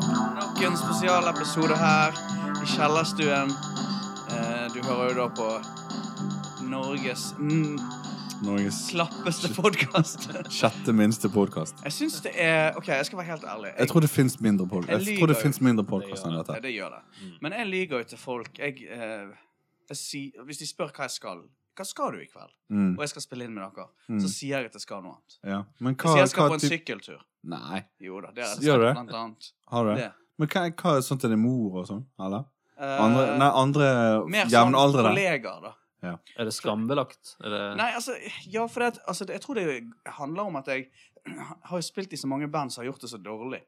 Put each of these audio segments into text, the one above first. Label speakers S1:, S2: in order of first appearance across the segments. S1: nok en spesialepisode her i kjellerstuen. Eh, Du hører jo da på Norges n
S2: Norges
S1: slappeste podkast.
S2: sjette minste podkast.
S1: Jeg syns det er OK, jeg skal være helt ærlig.
S2: Jeg tror det fins mindre podkast
S1: Jeg
S2: Jeg tror det
S1: lyver jo.
S2: finnes mindre podkast enn
S1: Ja,
S2: dette.
S1: det gjør det.
S3: Mm.
S1: Men jeg lyver jo til folk. Jeg, eh, jeg sier- hvis de spør hva jeg skal Hva skal du i kveld?
S2: Mm.
S1: Og jeg skal spille inn med dere.
S2: Mm.
S1: Så sier jeg at jeg skal noe annet.
S2: Ja.
S1: Jeg
S2: Men hva,
S1: sier jeg skal
S2: hva
S1: på en
S2: typ
S1: sykkeltur.
S2: Nei,
S1: Jo da, det har jeg
S2: Gjør
S1: sagt
S2: du det?
S1: blant annet.
S2: har du det?
S1: Det.
S2: Men hva, hva er sånn til din mor og sånn? Eller?
S1: Eh,
S2: Andre, nei, andre
S1: mer sånn
S2: jevnaldrende?
S1: kollegaer, da.
S3: Er det skambelagt? Er det...
S1: Nei, altså, ja, for det, at- altså, det- jeg tror det handler om at jeg har jo spilt i så mange band som har gjort det så dårlig.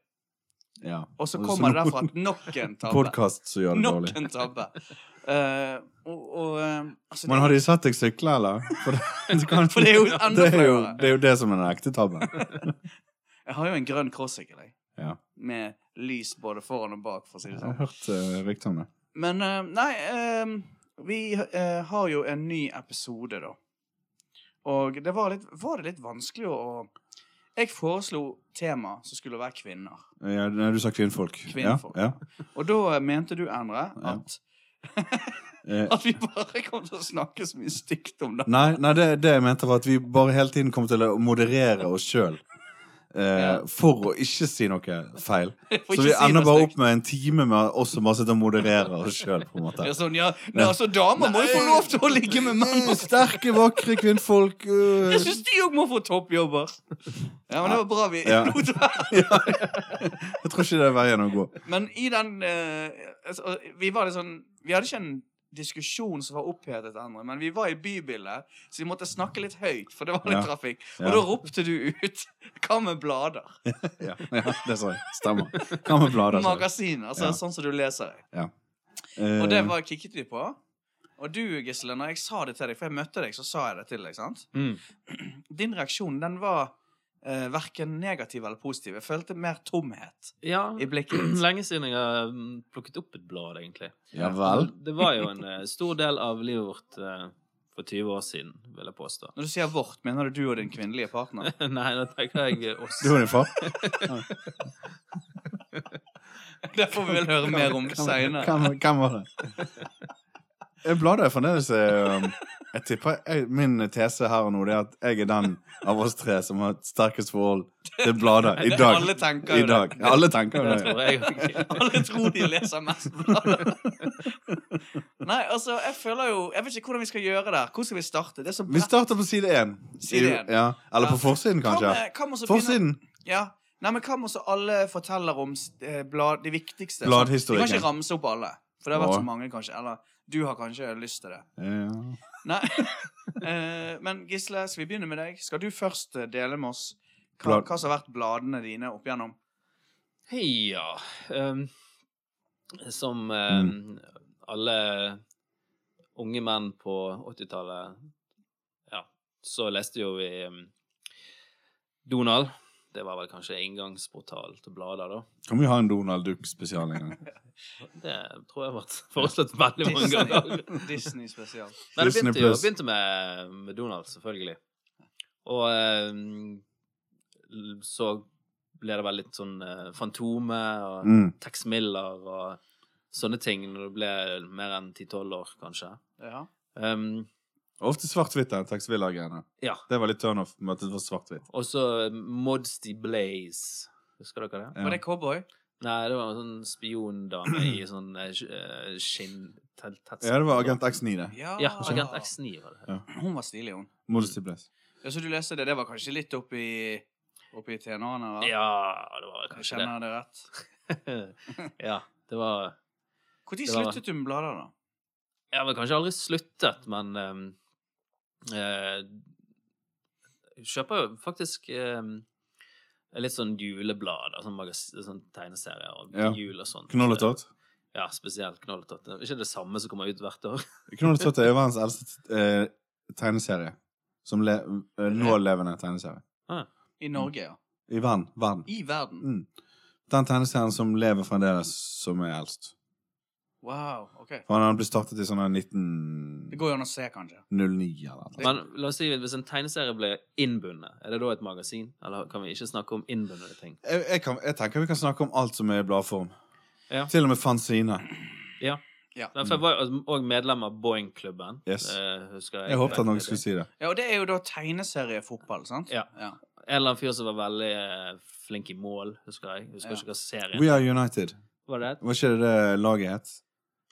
S2: Ja.
S1: Og så
S2: Og så
S1: kommer det
S2: nå-
S1: derfra at nok en tabbe.
S2: Podkast som gjør det
S1: Nok
S2: dårlig.
S1: en tabbe. Eh, og og eh, altså,
S2: Men har de sett deg sykle, eller? For det, det, kan,
S1: For det er jo enda
S2: det er jo,
S1: flauere.
S2: det er jo det som er den ekte tabben.
S1: Jeg har jo en grønn crossykkel, jeg.
S2: Ja.
S1: Med lys både foran og bak, for å si
S2: Jeg
S1: det
S2: har
S1: sånn.
S2: hørt uh, rykter om det.
S1: Men eh, nei eh, Vi eh, har jo en ny episode, da. Og det var, litt, var det litt vanskelig å Jeg foreslo tema som skulle være kvinner.
S2: Ja, nei, du sa kvinnfolk.
S1: Kvinnfolk.
S2: Ja,
S1: Og da eh, mente du, Endre,
S2: Ja.
S1: at,
S2: ja. Eh,
S1: at vi bare kom til å snakke så mye stygt om det.
S2: Nei, nei det, det jeg mente var at vi bare hele tiden kom til å moderere oss sjøl. Eh,
S1: Ja.
S2: For å ikke si noe feil.
S1: For
S2: Så
S1: ikke
S2: vi
S1: si
S2: ender
S1: noe
S2: bare
S1: stygt.
S2: opp med en time med oss som bare sitter og modererer oss sjøl.
S1: Det er sånn, ja, nei, altså, damer må jo få lov til å ligge med menn. og
S2: Mm, Sterke, vakre kvinnfolk. øh.
S1: Jeg syns de òg må få toppjobber. Ja, men det var bra vi
S2: Ja.
S1: lot være.
S2: Jeg tror ikke det er veien å gå.
S1: Men i den eh, altså, Vi var litt sånn Vi hadde ikke en diskusjon som var opphetet, andre, men vi var i bybildet, så vi måtte snakke litt høyt, for det var litt
S2: Ja.
S1: trafikk. Og
S2: Ja.
S1: da ropte du ut Hva med blader?
S2: Ja, ja det sa jeg. Stemmer. Hva med blader? sa jeg.
S1: Magasiner. Altså
S2: Ja.
S1: sånn som du leser. i.
S2: Eh,
S1: Og det var kikket vi på. Og du, Gisle, når jeg sa det til deg, for jeg møtte deg, så sa jeg det til deg, sant?
S3: Mm.
S1: Din reaksjon, den var eh, verken negativ eller positiv. Jeg følte mer tomhet
S3: Ja,
S1: i blikket ditt.
S3: lenge siden jeg har mm, plukket opp et blad, egentlig.
S2: Eh, Ja vel.
S3: Det var jo en eh, stor del av livet vårt eh, for 20 år siden, vil jeg påstå.
S1: Når du sier vårt, mener du du og din kvinnelige partner?
S3: Nei, da tenker jeg eh, oss.
S2: Du og din far?
S1: Det får vi vel høre mer om seinere.
S2: Hvem, hvem var det? Eh, Bladet er fremdeles eh, Jeg tipper jeg, Min tese her og nå det er at jeg er den av oss tre som har et sterkest forhold til bladet i dag.
S1: Alle tenker
S2: I
S1: jo det.
S2: dag. Ja, Alle tenker jo
S3: Det
S2: det.
S3: tror jeg også.
S1: Alle tror de leser mest blader. Nei, altså, jeg føler jo Jeg vet ikke hvordan vi skal gjøre det. her. Hvor skal vi starte? Det er så
S2: Vi starter på side én.
S1: Side én.
S2: Ja, eller på
S1: Ja.
S2: forsiden,
S1: Hva
S2: kanskje.
S1: med- hva med så begynne-
S2: Forsiden.
S1: Ja. Nei, men hva må så alle forteller om s- eh, blad, de viktigste? sånn?
S2: Bladhistorikken.
S1: Vi kan ikke ramse opp alle, for det har vært
S2: Åh.
S1: så mange, kanskje. Eller du har kanskje lyst til det.
S2: Ja.
S1: Nei. Eh, men Gisle, skal vi begynne med deg? Skal du først eh, dele med oss hva,
S2: Blad.
S1: hva som har vært bladene dine opp igjennom?
S3: Heia. Um, som eh, alle unge menn på 80-tallet Ja, så leste jo vi um, Donald. Det var vel kanskje inngangsportal til blader, da.
S2: Kan vi ha en Donald Duck-spesial en gang?
S3: Det tror jeg har vært foreslått veldig mange ganger.
S1: Disney, Disney spesial.
S3: Nei, det
S2: Disney
S3: begynte jo
S2: Plus.
S3: begynte med, med Donald, selvfølgelig. Og eh, l- så ble det vel litt sånn eh, Fantomet og
S2: Mm.
S3: Tex Miller og sånne ting når du ble mer enn 10-12 år, kanskje.
S1: Ja.
S3: Um,
S2: Ofte svart-hvitt, den Tex Willer-greiene.
S3: ja.
S2: Det var litt turnoff med at det var svart-hvitt.
S3: Og så Modsty Blaze. Husker dere det?
S2: Ja.
S1: Var det cowboy?
S3: Nei, det var en sånn spiondame i sånn eh, sk- eh, skinn... te- tettskinn.
S2: Ja, det var Agent X9, det.
S1: Ja.
S3: Ja, Agent X9 var det.
S1: Hun var stilig, hun.
S2: Modesty Blaze.
S1: Ja, så du leste det? Det var kanskje litt oppi, oppi tenårene? va?
S3: Ja, det var
S1: Jeg
S3: kanskje det.
S1: Kjenner jeg det rett?
S3: ja, det var
S1: Når
S3: Det var-
S1: sluttet du med blader, da?
S3: Jeg har vel kanskje aldri sluttet, men eh, eh, Jeg kjøper jo faktisk eh, litt sånn juleblad, sånn, magas- sånn tegneserie og
S2: Ja.
S3: jul og sånt.
S2: Knoll og tott.
S3: Ja, spesielt Knolletott. Det er Ikke det samme som kommer ut hvert år.
S2: Knoll og tott er verdens eldste eh, tegneserie. Som le eh, nålevende tegneserie.
S1: I Norge, ja.
S2: I verden. verden.
S1: I verden.
S2: Mm. Den tegneserien som lever fremdeles, som er eldst.
S1: Wow, ok.
S2: For han ble startet i sånn her
S1: Det
S2: 1909
S1: går jo an å se, kanskje.
S2: eller noe.
S3: Men la oss si hvis en tegneserie ble innbundet, er det da et magasin? Eller kan vi ikke snakke om innbundne ting?
S2: Jeg, jeg, kan, jeg tenker vi kan snakke om alt som er i bladform. Til og med fanzine.
S1: Ja.
S3: For jeg var òg medlem av Boeing-klubben.
S2: Yes.
S3: eh, husker jeg.
S2: Jeg håpet at noen skulle si det.
S1: ja, og det er jo da tegneseriefotball, sant?
S3: Ja.
S1: ja.
S3: En eller annen fyr som var veldig eh, flink i mål, husker jeg. Husker
S1: Ja.
S3: ikke hva serien
S2: We Are United.
S3: var. det?
S2: Var ikke det det laget het?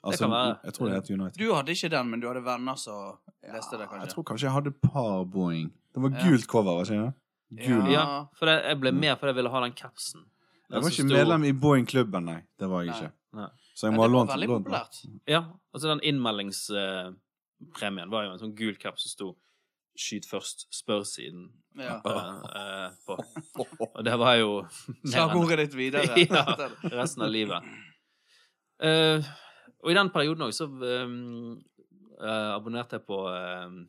S2: Altså,
S3: kan være.
S2: jeg tror det het United.
S1: Du hadde ikke den, men du hadde venner som leste det,
S2: Ja, Jeg
S1: kanskje?
S2: tror kanskje jeg hadde et par Boeing. Det var
S1: Ja.
S2: gult cover, var ikke det? Gul.
S3: Ja,
S1: Ja.
S3: for jeg, jeg ble med fordi jeg ville ha den capsen. Den
S2: Jeg var
S3: som
S2: ikke
S3: sto-
S2: medlem i Boeing-klubben, nei. Det var jeg ikke.
S3: Nei.
S2: Så jeg
S1: Men
S2: må
S1: det var
S2: ha lånt
S1: veldig
S2: lånt den.
S1: populært.
S3: Ja, altså den innmeldingspremien var jo en sånn gul kapp som sto 'Skyt først, spør siden'
S1: Ja.
S3: eh, eh, på. Og det var jo mer enn
S1: Slagordet ditt videre.
S3: Ja. resten av livet. Eh, og i den perioden òg så ehm, eh, abonnerte jeg på ehm,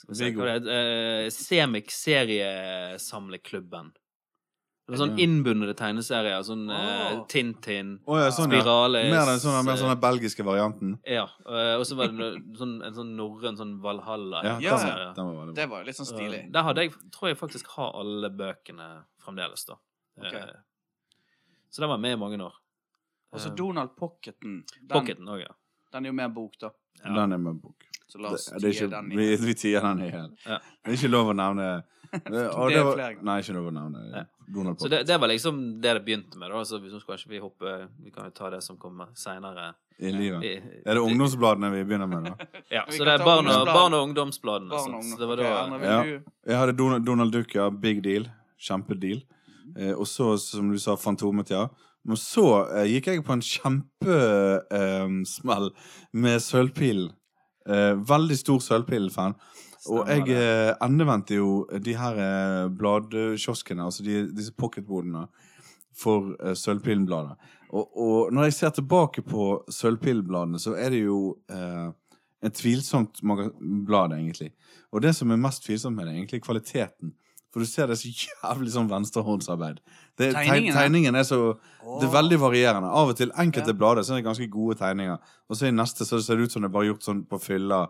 S3: skal vi se,
S2: Viggo.
S3: hva det heter, eh, Semik Seriesamleklubben. Det var sånn
S2: Ja. Ah.
S3: innbundne tegneserier. Sånn eh,
S1: Åh.
S3: Tintin,
S2: Å ja, sånn, ja.
S3: Spirales
S2: Mer den sånn, mer
S3: eh,
S2: sånn den belgiske varianten.
S3: Ja. eh, Og så var det no- sånn, en sånn norrøn sånn Valhalla.
S2: Ja,
S1: Ja,
S2: den,
S1: ja,
S2: den var veldig bra.
S1: Det var jo litt sånn stilig.
S3: Eh, Der hadde jeg, tror jeg faktisk har alle bøkene fremdeles, da.
S1: Ok.
S3: Eh, Så den var med i mange år.
S1: Og så
S3: Eh,
S1: Altså, Donald Pocketen. Den,
S3: Pocketen òg, ja.
S1: den er jo mer bok, da.
S3: Ja.
S2: Den er med bok.
S1: Så la oss
S2: det, det er
S1: tie
S2: ikke,
S1: den
S2: vi,
S1: i.
S2: vi tier den i hjel.
S3: Ja.
S2: Det er ikke lov å nevne det, og
S1: Det
S2: det
S1: er
S2: var,
S1: flere ganger.
S2: Nei, ikke lov å nevne
S3: Nei.
S2: Donald
S3: Så
S2: Pop.
S3: det, det var liksom det det begynte med, da. Så vi, så skal ikke vi hoppe Vi kan jo ta det som kommer seinere.
S2: I livet. Er det ungdomsbladene vi begynner med, da?
S3: Ja,
S1: Vi
S3: så
S1: kan
S3: det er
S1: ta
S3: barn og,
S1: ungdomsblad.
S3: barn og ungdomsbladene.
S1: Barn og
S3: sant?
S1: ungdom.
S3: Så det var
S1: Ok,
S3: da
S1: Erna, vil
S2: Ja.
S1: du-
S2: Jeg hadde Donald, Donald Duck, ja. Big deal. Kjempedeal. Eh, og så, som du sa, Fantomet, ja. Men så eh, gikk jeg på en kjempesmell med Sølvpilen. Eh, veldig stor Sølvpilen-fan. Og
S3: Stemmer
S2: jeg eh, endevendte jo de her eh, bladkioskene, altså de, disse pocketbodene, for eh, Sølvpillenbladet. Og, og når jeg ser tilbake på Sølvpillenbladene, så er det jo eh, et tvilsomt maga- blad, egentlig. Og det som er mest tvilsomt med det, er egentlig kvaliteten. For du ser det er så jævlig sånn venstrehåndsarbeid. Det, tegningen,
S1: Tegningen, ja.
S2: tegningen er så Det er
S1: Åh.
S2: veldig varierende. Av og til enkelte
S1: Ja.
S2: blader så er det ganske gode tegninger, og så i neste så ser det ut som det er bare gjort sånn på fylla.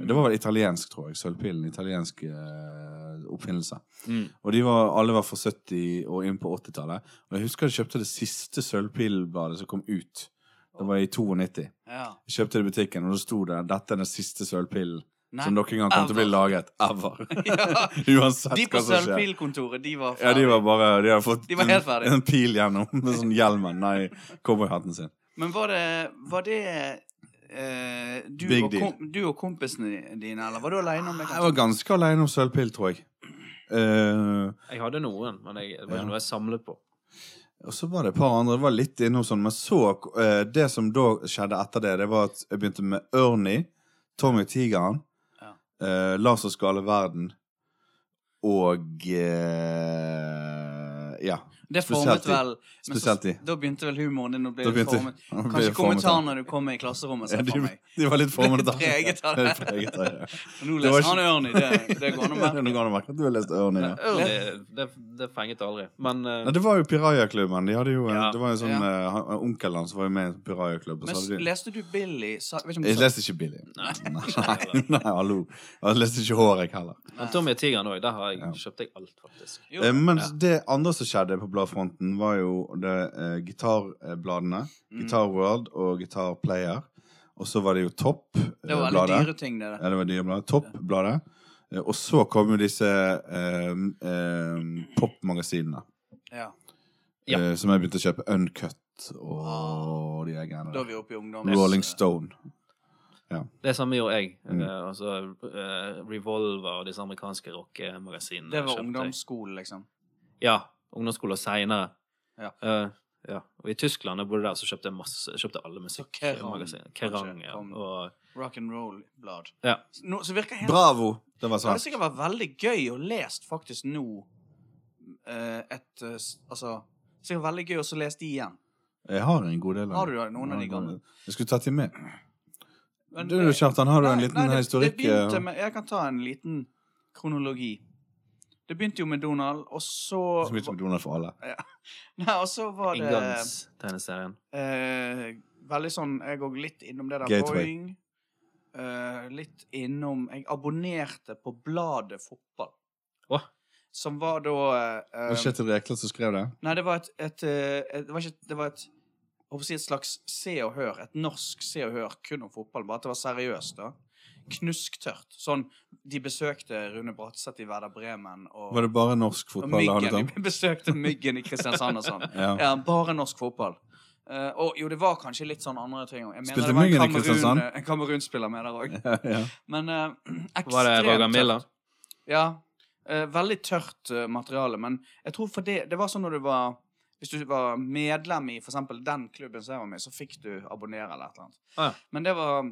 S2: Det var vel italiensk, tror jeg. Sølvpilen. Italiensk eh, oppfinnelse.
S3: Mm.
S2: Og de var, alle var fra 70- og inn på 80-tallet. Og jeg husker jeg kjøpte det siste sølvpilbladet som kom ut. Det var i 92.
S1: Ja.
S2: Jeg kjøpte det i butikken, og da sto det 'Dette er den siste sølvpillen
S1: Nei.
S2: som noen gang kommer til å bli
S1: ever.
S2: laget ever'.
S1: Ja.
S2: Uansett
S1: De
S2: hva
S1: på
S2: som skjer.
S1: Sølvpilkontoret, de var
S2: Ja, de var bare De hadde fått
S1: De var helt ferdig.
S2: en, en pil gjennom med sånn hjelmen. Nei, cowboyhatten sin.
S1: Men var det, var det eh, du,
S2: Big
S1: og
S2: deal.
S1: kom, du og kompisene dine, eller var du aleine om det?
S2: Jeg var ganske aleine om sølvpill, tror jeg. Eh,
S3: Jeg hadde noen, men jeg, det var
S2: Ja.
S3: ikke noe jeg samlet på.
S2: og så var det et par andre. Det var litt innom sånn, men så eh, Det som da skjedde etter det, det var at jeg begynte med Ernie, Tommy Tigeren,
S1: Ja.
S2: eh, Lars og Skale Verden og eh, Ja.
S1: Det
S2: Spesielt
S1: formet
S2: i-
S1: vel men så-
S2: spesielt i.
S1: Da begynte vel humoren din å bli
S2: Da
S1: litt
S2: begynte-
S1: formet.
S2: da ble
S1: Kanskje
S2: jeg formet av-
S1: kommentarene du kom med i klasserommet,
S2: Ja,
S1: ser Altså, for
S2: de,
S1: meg.
S2: de var litt formet av
S1: Preget av det.
S2: Preget av det.
S1: Nå
S2: Det
S1: leser
S2: var ikke-
S1: han Ørni, det, det går an å
S2: Det er
S1: merke.
S2: noe annet å merke at du har lest Ernie. Ja.
S3: Early, det, det fenget aldri. Men eh,
S2: Nei, det var jo Pirajaklubben. De hadde jo en,
S3: Ja.
S2: det var jo sånn,
S1: Ja.
S2: eh, han- Onkelen hans var jo med i en pirajaklubb. og så
S1: Men s-
S2: hadde de-
S1: leste du Billy sa, vet ikke om du
S2: Jeg
S1: sa-
S2: leste ikke Billy. Nei,
S3: Nei.
S2: nei, hallo. Jeg leste ikke Hårek heller.
S3: men Tommy og Tigeren òg, der har jeg,
S2: Ja.
S3: kjøpte jeg alt, faktisk.
S1: Jo,
S2: Eh, Men
S3: Ja.
S2: det andre som skjedde på bladfronten, var jo det eh, gitarbladene.
S1: Mm.
S2: Guitar World og Guitar Player. Og så var det jo eh,
S1: Det var alle
S2: Topp-bladet.
S1: dyre ting, det der.
S2: Ja, det var dyrebladet. Topp-bladet. Eh, Og så kom jo disse eh, eh, popmagasinene.
S1: Ja.
S3: Ja.
S2: eh, Som jeg begynte å kjøpe. Uncut og de der greiene
S1: Da er
S2: der.
S1: vi eh, oppe i ungdom.
S2: Rolling Stone.
S3: Det samme gjorde jeg.
S2: Mm.
S3: Eh, altså eh, Revolver og disse amerikanske rockemagasinene.
S1: Det var
S3: kjøpte jeg.
S1: ungdomsskole, liksom.
S3: Ja. Ungdomsskole og seinere.
S1: Ja.
S3: ja. Og i Tyskland, da jeg bodde der, så kjøpte jeg masse jeg kjøpte alle
S1: Kerrang,
S3: musikkmagasiner. Kerrang.
S1: kanskje,
S3: Ja.
S1: kom.
S3: Og
S1: Rock and roll-blad.
S3: Ja.
S1: Nå- Så virker helt
S2: Bravo! Det var
S1: Det hadde
S2: sant.
S1: sikkert vært veldig gøy å lest faktisk nå eh, et eh, s- Altså Sikkert veldig gøy å så lese de igjen.
S2: Jeg har en god del av
S1: Har du det, noen av de
S2: Jeg har en god
S1: gamle?
S2: del. Jeg skulle tatt de med.
S1: Men eh,
S2: Du,
S1: det-
S2: Kjartan, har du en
S1: Nei,
S2: liten
S1: nei, det-
S2: historikk?
S1: Det begynte
S2: eh,
S1: med, jeg kan ta en liten kronologi. Det begynte jo med Donald, og så
S2: Som begynte med Donald for alle.
S1: Nei, og så var det
S3: Inngangstegneserien.
S1: eh, veldig sånn Jeg òg litt innom det der
S2: Gateway.
S1: Boeing. Eh, litt innom Jeg abonnerte på bladet Fotball.
S3: Åh.
S1: Som var da eh,
S2: Var det Kjetil Rekdal som skrev det?
S1: Nei, det var et, et, eh, et, det var ikke, det var et jeg håper å si et slags Se og Hør, et norsk Se og Hør kun om fotball, bare at det var seriøst, da. Knusktørt. Sånn De besøkte Rune Bratseth i Werder Bremen, og,
S2: Var det bare norsk
S1: og
S2: fotball det handlet
S1: Myggen.
S2: om?
S1: De besøkte Myggen i Kristiansand og sånn.
S2: Ja.
S1: Ja, bare norsk fotball. Eh, og jo, det var kanskje litt sånn andre ting òg.
S2: Spilte Myggen i Kristiansand?
S1: En Kamerun-spiller med der òg.
S2: ja.
S1: Men eh, ekstremt
S3: Var det Roger
S1: tørt.
S3: Miller?
S1: Ja. eh, veldig tørt eh, materiale, men jeg tror for det Det var sånn når du var Hvis du var medlem i for eksempel den klubben som jeg var med i, så fikk du abonnere eller et eller annet.
S3: Ah, ja.
S1: Men det var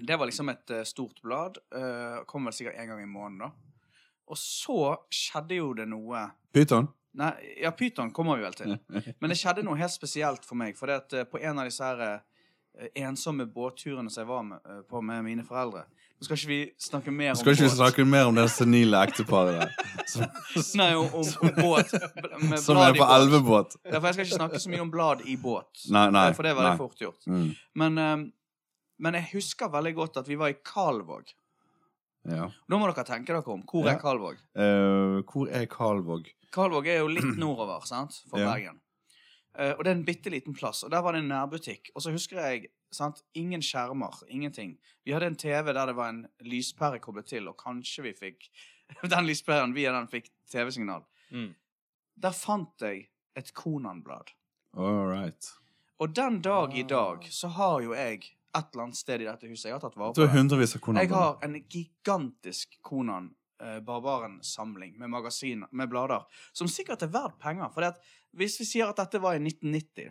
S1: Det var liksom et eh, stort blad. eh, kom vel sikkert en gang i måneden, da. Og så skjedde jo det noe
S2: Pyton?
S1: Nei, ja, Pyton kommer vi vel til. Men det skjedde noe helt spesielt for meg. For på en av disse her eh, ensomme båtturene som jeg var med, eh, på med mine foreldre Nå skal ikke vi snakke mer om
S2: Skal ikke vi
S1: båt.
S2: snakke mer om det senile ekteparet der? Som,
S1: Nei, om, om båt. bl- Med
S2: som er
S1: blad i
S2: på
S1: båt.
S2: elvebåt?
S1: Derfor jeg skal ikke snakke så mye om blad i båt.
S2: Nei, nei.
S1: for det er veldig
S2: nei.
S1: fort gjort.
S2: Mm,
S1: Men, eh, men jeg husker veldig godt at vi var i Kalvåg.
S2: ja.
S1: Nå må dere tenke dere om. Hvor
S2: Ja.
S1: er Kalvåg?
S2: Eh, hvor er Kalvåg?
S1: Kalvåg er jo litt nordover, sant, for
S2: Ja.
S1: Bergen. Eh, og det er en bitte liten plass. Og der var det en nærbutikk. Og så husker jeg, sant, ingen skjermer, ingenting. Vi hadde en TV der det var en lyspære koblet til, og kanskje vi fikk Den lyspæren via den fikk TV-signal.
S3: Mm.
S1: Der fant jeg et Konan-blad.
S2: All right.
S1: Og den dag
S2: Ah.
S1: i dag så har jo jeg et eller annet sted i dette huset Jeg har tatt vare
S2: Du
S1: på
S2: har
S1: det.
S2: hundrevis av koner.
S1: Jeg har en gigantisk Konan eh, Barbaren-samling med magasin, med blader, som sikkert er verdt penger. For hvis vi sier at dette var i 1990,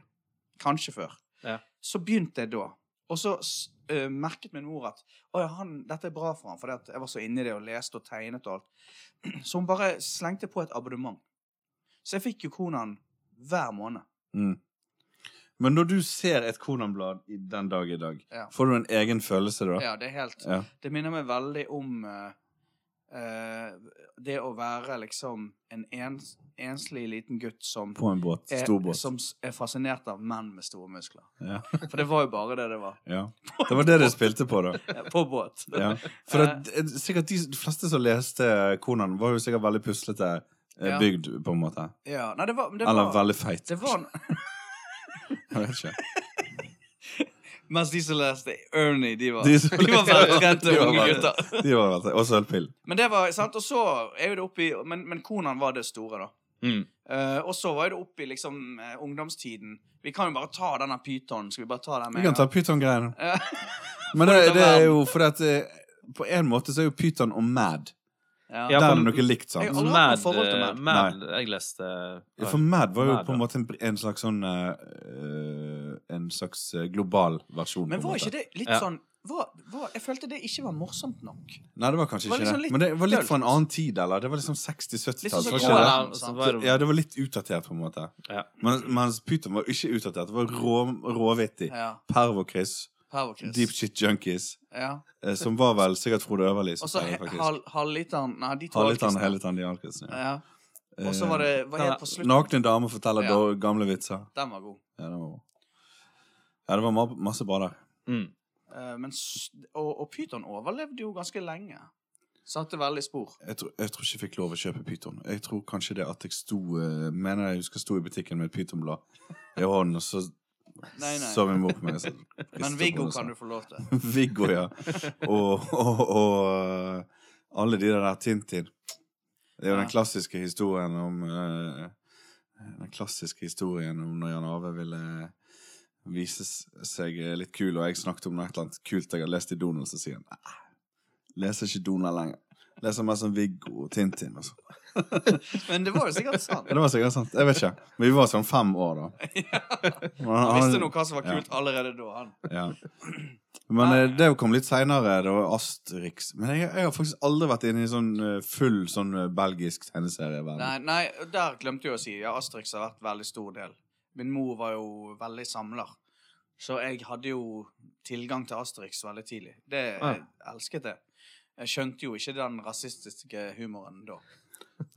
S1: kanskje før,
S3: Ja.
S1: så begynte jeg da. Og så s- eh, merket min mor at «Å ja, han, dette er bra for han, for jeg var så inne i det og leste og tegnet og alt. Så hun bare slengte på et abonnement. Så jeg fikk jo Konan hver måned.
S2: Mm. Men når du ser et Konan-blad i den dag i dag,
S1: Ja.
S2: får du en egen følelse da?
S1: Ja, det er helt
S2: Ja.
S1: Det minner meg veldig om eh, eh, det å være liksom en ens, enslig liten gutt som
S2: På en båt.
S1: er,
S2: Stor båt.
S1: Eh, som s- er fascinert av menn med store muskler.
S2: Ja.
S1: For det var jo bare det det var.
S2: ja. Det var det de spilte på, da.
S1: eh, På båt.
S2: Ja. For at, eh, sikkert de, de fleste som leste Konan, var jo sikkert veldig puslete eh,
S1: Ja.
S2: bygd, på en måte.
S1: Ja, Nei, det var, det
S2: Eller
S1: var,
S2: veldig feit.
S1: det var
S2: Jeg vet ikke.
S1: Mens de som leste Ernie, de var,
S2: De
S1: de
S2: som
S1: var veldig
S2: leste Ernie,
S1: trente
S2: de var
S1: unge
S2: veldig-
S1: gutter.
S2: De var veldig Og sølvpill.
S1: Men det var, sant, og så er jo det oppi Men, men Konan var det store, da.
S3: Mm.
S1: Eh, og så var jo det oppi liksom eh, ungdomstiden. Vi kan jo bare ta denne pytonen. Skal vi bare ta den
S2: Vi
S1: med?
S2: kan ta
S1: en
S2: pyton-greiene.
S1: gang?
S2: Men
S1: Får
S2: det,
S1: du ta
S2: det er
S1: verden?
S2: jo fordi at eh, På en måte så er jo pyton og mad
S1: Ja.
S3: Ja,
S2: Der
S3: for-
S2: er noe likt,
S1: Jeg
S2: sant?
S1: har aldri hatt noe
S3: Mad,
S1: forhold til Mad.
S3: eh, Mad Jeg leste
S2: Ja, For mad var jo
S3: Mad,
S2: på en
S3: ja.
S2: måte en, en slags sånn eh, eh, En slags eh, global versjon.
S1: Men
S2: på en
S1: var
S2: måte.
S1: ikke det litt
S3: Ja.
S1: sånn var, var, Jeg følte det ikke var morsomt nok.
S2: Nei, det var kanskje
S1: var
S2: ikke
S1: liksom
S2: det.
S1: litt
S2: Men det var litt
S1: dølt.
S2: fra en annen tid, eller? Det var liksom 60-70-tall.
S1: Litt
S2: var
S1: sånn
S2: ikke det?
S1: KLM.
S3: Ja, så var det-
S2: Ja, det var litt utdatert, på en måte.
S3: Ja.
S2: Mens, mens Pyton var ikke utdatert. Det var rå, råvittig.
S1: Ja.
S2: Pervokris,
S1: Her var Chris.
S2: Deep Shit Junkies,
S1: Ja.
S2: eh, som var vel sikkert Frode Øverli som
S1: Og så
S2: sa
S1: he-
S2: det, faktisk.
S1: hal- halvliteren Nei, de to
S2: Halvlitann,
S1: alkisene.
S2: hellitann, dialkrisen. Ja.
S1: Ja. Og så var det var helt på
S2: Eh,
S1: slutten.
S2: Nakne damer forteller
S1: Ja.
S2: da- gamle vitser.
S1: Den var god.
S2: Ja, det var bra. Ja, det var ma- masse bra der.
S3: mm.
S1: Eh, men, s- og, og Pyton overlevde jo ganske lenge. Satte veldig spor.
S2: Jeg tror, jeg tror ikke jeg fikk lov å kjøpe pyton. Jeg tror kanskje det at jeg sto eh, Mener jeg husker jeg sto i butikken med et pytonblad i hånden, og så
S1: Nei, nei.
S2: så min mor på meg. og så
S1: Men
S2: ristet
S1: Viggo
S2: på
S1: kan
S2: den
S1: du
S2: og
S1: få lov til.
S2: sa, Viggo, ja. Og, og, og eh, alle de der Tintin. Det er jo
S1: Ja.
S2: den klassiske historien om eh, Den klassiske historien om når Jan Ave ville vise s- seg litt kul, og jeg snakket om noe et eller annet kult jeg hadde lest i Donald, så sier han "Nei, leser ikke Donald lenger. Leser mer som Viggo og Tintin og sånn.
S1: Men det var jo sikkert sant.
S2: Ja, Det var sikkert sant. Jeg vet ikke. Men vi var sånn fem år, da. Men
S1: Han
S2: han-
S1: visste nå hva som var
S2: ja.
S1: kult allerede da, han.
S2: Ja. Men eh, det kom litt seinere. Det var Asterix. Men jeg, jeg har faktisk aldri vært inne i sånn eh, full sånn eh, belgisk tegneserieverden.
S1: Nei, nei, der glemte jeg å si. Ja, Asterix har vært veldig stor del. Min mor var jo veldig samler. Så jeg hadde jo tilgang til Asterix veldig tidlig. Det
S2: Ah.
S1: jeg elsket det. Jeg skjønte jo ikke den rasistiske humoren da.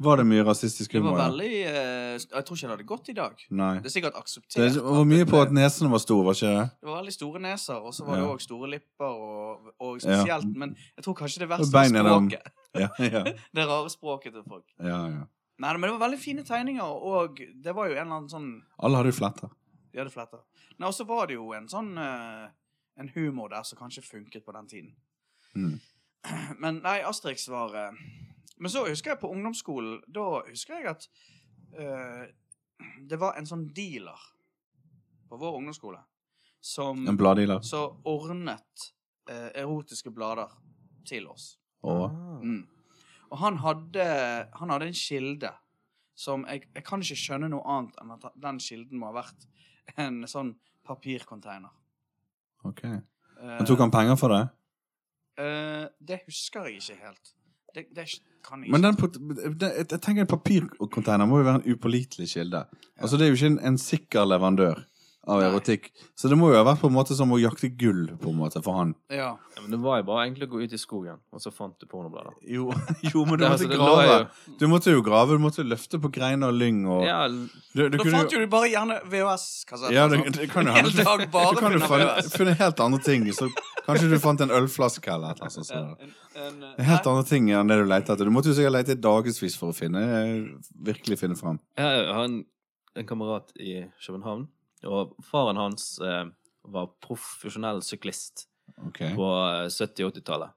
S2: Var det mye rasistisk
S1: Det var
S2: humor? ja?
S1: veldig eh, Jeg tror ikke det hadde gått i dag.
S2: Nei.
S1: Det er sikkert akseptert.
S2: Det var mye på at nesene var store, var ikke det?
S1: Det var veldig store neser, og så var det
S2: Ja.
S1: òg store lipper, og, og
S2: Ja.
S1: spesielt Men jeg tror kanskje det
S2: Og
S1: verste var
S2: bein i dem.
S1: språket.
S2: Ja, ja.
S1: Det rare språket til folk.
S2: ja, ja.
S1: Nei, men det var veldig fine tegninger, og det var jo en eller annen sånn
S2: Alle hadde jo fletter.
S1: De hadde fletter. Nei, og så var det jo en sånn eh, En humor der som kanskje funket på den tiden.
S2: Mm.
S1: Men nei, Asterix var eh, Men så husker jeg på ungdomsskolen, da husker jeg at eh, det var en sånn dealer på vår ungdomsskole som
S2: En bladdealer.
S1: så ordnet eh, erotiske blader til oss.
S2: Og
S1: Mm. Og han hadde, han hadde en kilde som jeg, jeg kan ikke skjønne noe annet enn at den kilden må ha vært en sånn papircontainer.
S2: OK.
S1: Eh,
S2: Men tok han penger for det?
S1: eh, det husker jeg ikke helt. Det, det kan jeg
S2: Men
S1: ikke.
S2: den, pot- den- jeg jeg tenker en papircontainer må jo være en upålitelig kilde. Altså Det er jo ikke en, en sikker leverandør av
S1: Nei.
S2: erotikk. Så det må jo ha vært på en måte som å jakte gull på en måte for han.
S1: Ja.
S3: Ja, men det var jo bare egentlig å gå ut i skogen, og så fant du pornoblader.
S2: Jo, jo men du måtte
S3: Ja, altså, det lå
S2: grave. Du måtte jo grave, du måtte løfte på greiner og lyng og
S3: Ja,
S2: du, du
S1: Da
S2: kunne
S1: fant jo du bare gjerne VHS-kassetter.
S2: Ja,
S1: og
S2: det,
S1: sånt.
S2: det kan jo
S1: altså? Hele
S2: hende. Du,
S1: dag bare
S2: du kan jo
S1: finne
S2: finne,
S1: VHS.
S2: finne helt andre ting. Så kanskje du fant en ølflaske eller noe sånt.
S1: Ja,
S2: Så.
S1: en- en, eh,
S2: Helt andre ting enn det du lette etter. Du måtte jo sikkert lete i dagevis for å finne virkelig finne fram.
S3: Jeg har en, en kamerat i København, og faren hans eh, var profesjonell syklist
S2: Ok. Mhm,
S3: på eh, 70- og 80-tallet.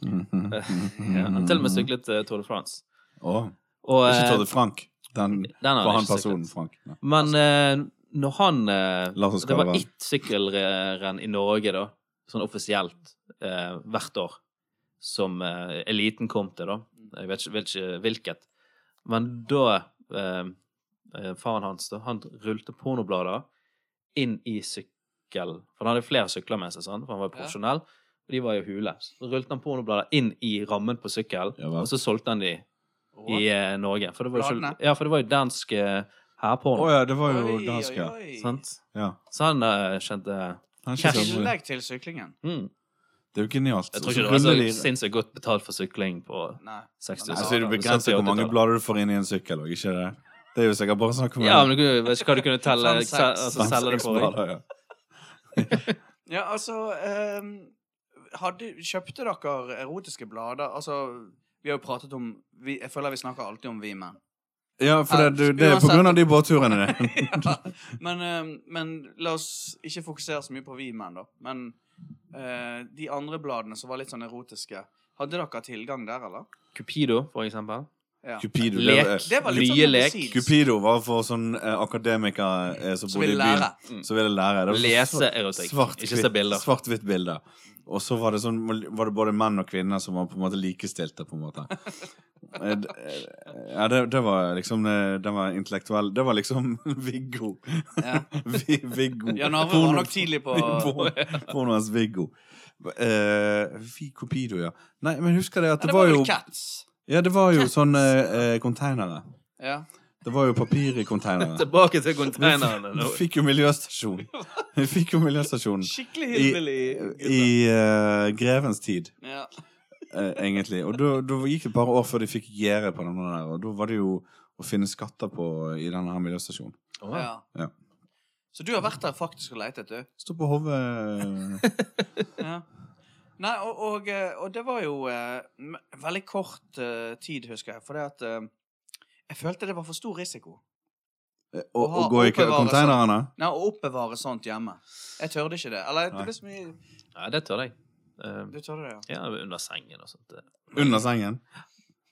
S3: Ja, han til og med syklet eh, Tour de France.
S2: Å,
S3: Og,
S2: Ikke
S3: eh,
S2: Todde Frank. Den,
S3: den har
S2: for han
S3: ikke
S2: personen
S3: syklet.
S2: Frank. Ja.
S3: Men eh, når han eh,
S2: La oss
S3: Det
S2: kalle
S3: var
S2: han.
S3: ett sykkelrenn i Norge, da, sånn offisielt, eh, hvert år, som eh, eliten kom til, da. Jeg vet ikke, vet ikke hvilket. Men da eh, eh, Faren hans, da, han rullte pornoblader inn i sykkel. For han hadde flere sykler med seg, sant? for han var jo
S1: Ja.
S3: profesjonell. Og de var jo hule. Så rullte han pornoblader inn i rammen på sykkel,
S2: Ja vel.
S3: og så solgte han de i eh, Norge. For det var jo,
S1: Bladene?
S3: ikke- ja, for det var jo dansk eh,
S2: Å
S3: hærporno.
S2: ja, det var jo
S1: Oi,
S2: dansk, ja.
S1: oi, oi.
S3: Sant?
S2: ja.
S3: Så han eh, kjente
S2: Han er
S1: I
S2: ikke så-
S1: tillegg til syklingen.
S3: mm.
S2: Det er jo genialt.
S3: Jeg tror
S2: Så
S3: ikke det var så
S2: ruller de-
S3: sinnssykt godt betalt for sykling på
S1: Nei.
S3: 60
S2: Nei, så er det begrenset hvor mange blader du får inn i en sykkel òg, ikke det? Det er jo sikkert bare snakk om
S3: Ja, men du kunne- jeg vet ikke hva du kunne telle
S1: Fem, seks.
S3: se- altså, selge det for.
S2: Blader, ja.
S1: Ja, altså ehm, hadde, Kjøpte dere erotiske blader? Altså, vi har jo pratet om vi, Jeg føler vi snakker alltid om vi menn.
S2: Ja, for det, du, det er på
S1: Uansett.
S2: grunn av de båtturene. det.
S1: ja. men, ehm, men la oss ikke fokusere så mye på vi menn, da. Men eh, de andre bladene som var litt sånn erotiske, hadde dere tilgang der, eller?
S3: Cupido, for eksempel.
S1: Ja.
S2: Cupido.
S3: Lek.
S2: Det,
S1: Det var litt
S3: Mye
S1: sånn
S3: lek.
S1: medisinsk,
S2: Cupido var for sånn eh, akademikere eh, som
S1: Som
S2: bodde i
S1: ville
S2: byen.
S1: lære. Mm.
S2: Som ville lære. Det var
S3: Lese
S2: svar-
S3: erotikk,
S2: svart-
S3: ikke se bilder.
S2: Svart-hvitt bilder. Og så var det sånn Var det både menn og kvinner som var på en måte likestilte, på en måte. Eh, d- eh, Ja, det, det var liksom eh, Den var intellektuell Det var liksom Viggo.
S1: Ja.
S2: Vi- Viggo.
S1: Jan Arve var nok tidlig på Nei,
S2: Pornoen hans Viggo. Eh, vi Cupido, ja. Nei, men husker det at det,
S1: det
S2: var,
S1: var vel
S2: jo
S1: Cats.
S2: Ja, det var jo sånne eh, konteinere.
S1: Ja.
S2: Det var jo papir i konteinere.
S3: Tilbake til
S2: Vi f-
S3: konteinerne.
S2: vi fikk jo miljøstasjon. Vi fikk jo miljøstasjon
S1: Skikkelig
S2: I-
S1: hillbilly.
S2: i eh, grevens tid,
S1: Ja.
S2: eh, egentlig. Og da da gikk det et par år før de fikk gjerde på denne der, og da var det jo å finne skatter på i denne her miljøstasjonen.
S3: Å,
S1: Ja.
S2: Ja.
S1: Så du har vært der faktisk og letet, du?
S2: Stå på eh, hodet
S1: Ja. Nei, og, og, eh, og det var jo eh, m- veldig kort eh, tid, husker jeg. For det at eh, jeg følte det var for stor risiko.
S2: og, og gå i kø- konteinerne.
S1: Nei, Å oppbevare sånt hjemme. Jeg tørde ikke det. Eller
S2: Nei.
S1: det ble så mye
S3: Ja, det tør jeg. Eh,
S1: Du tørde det, ja.
S3: Ja, under sengen og sånt.
S2: Under sengen.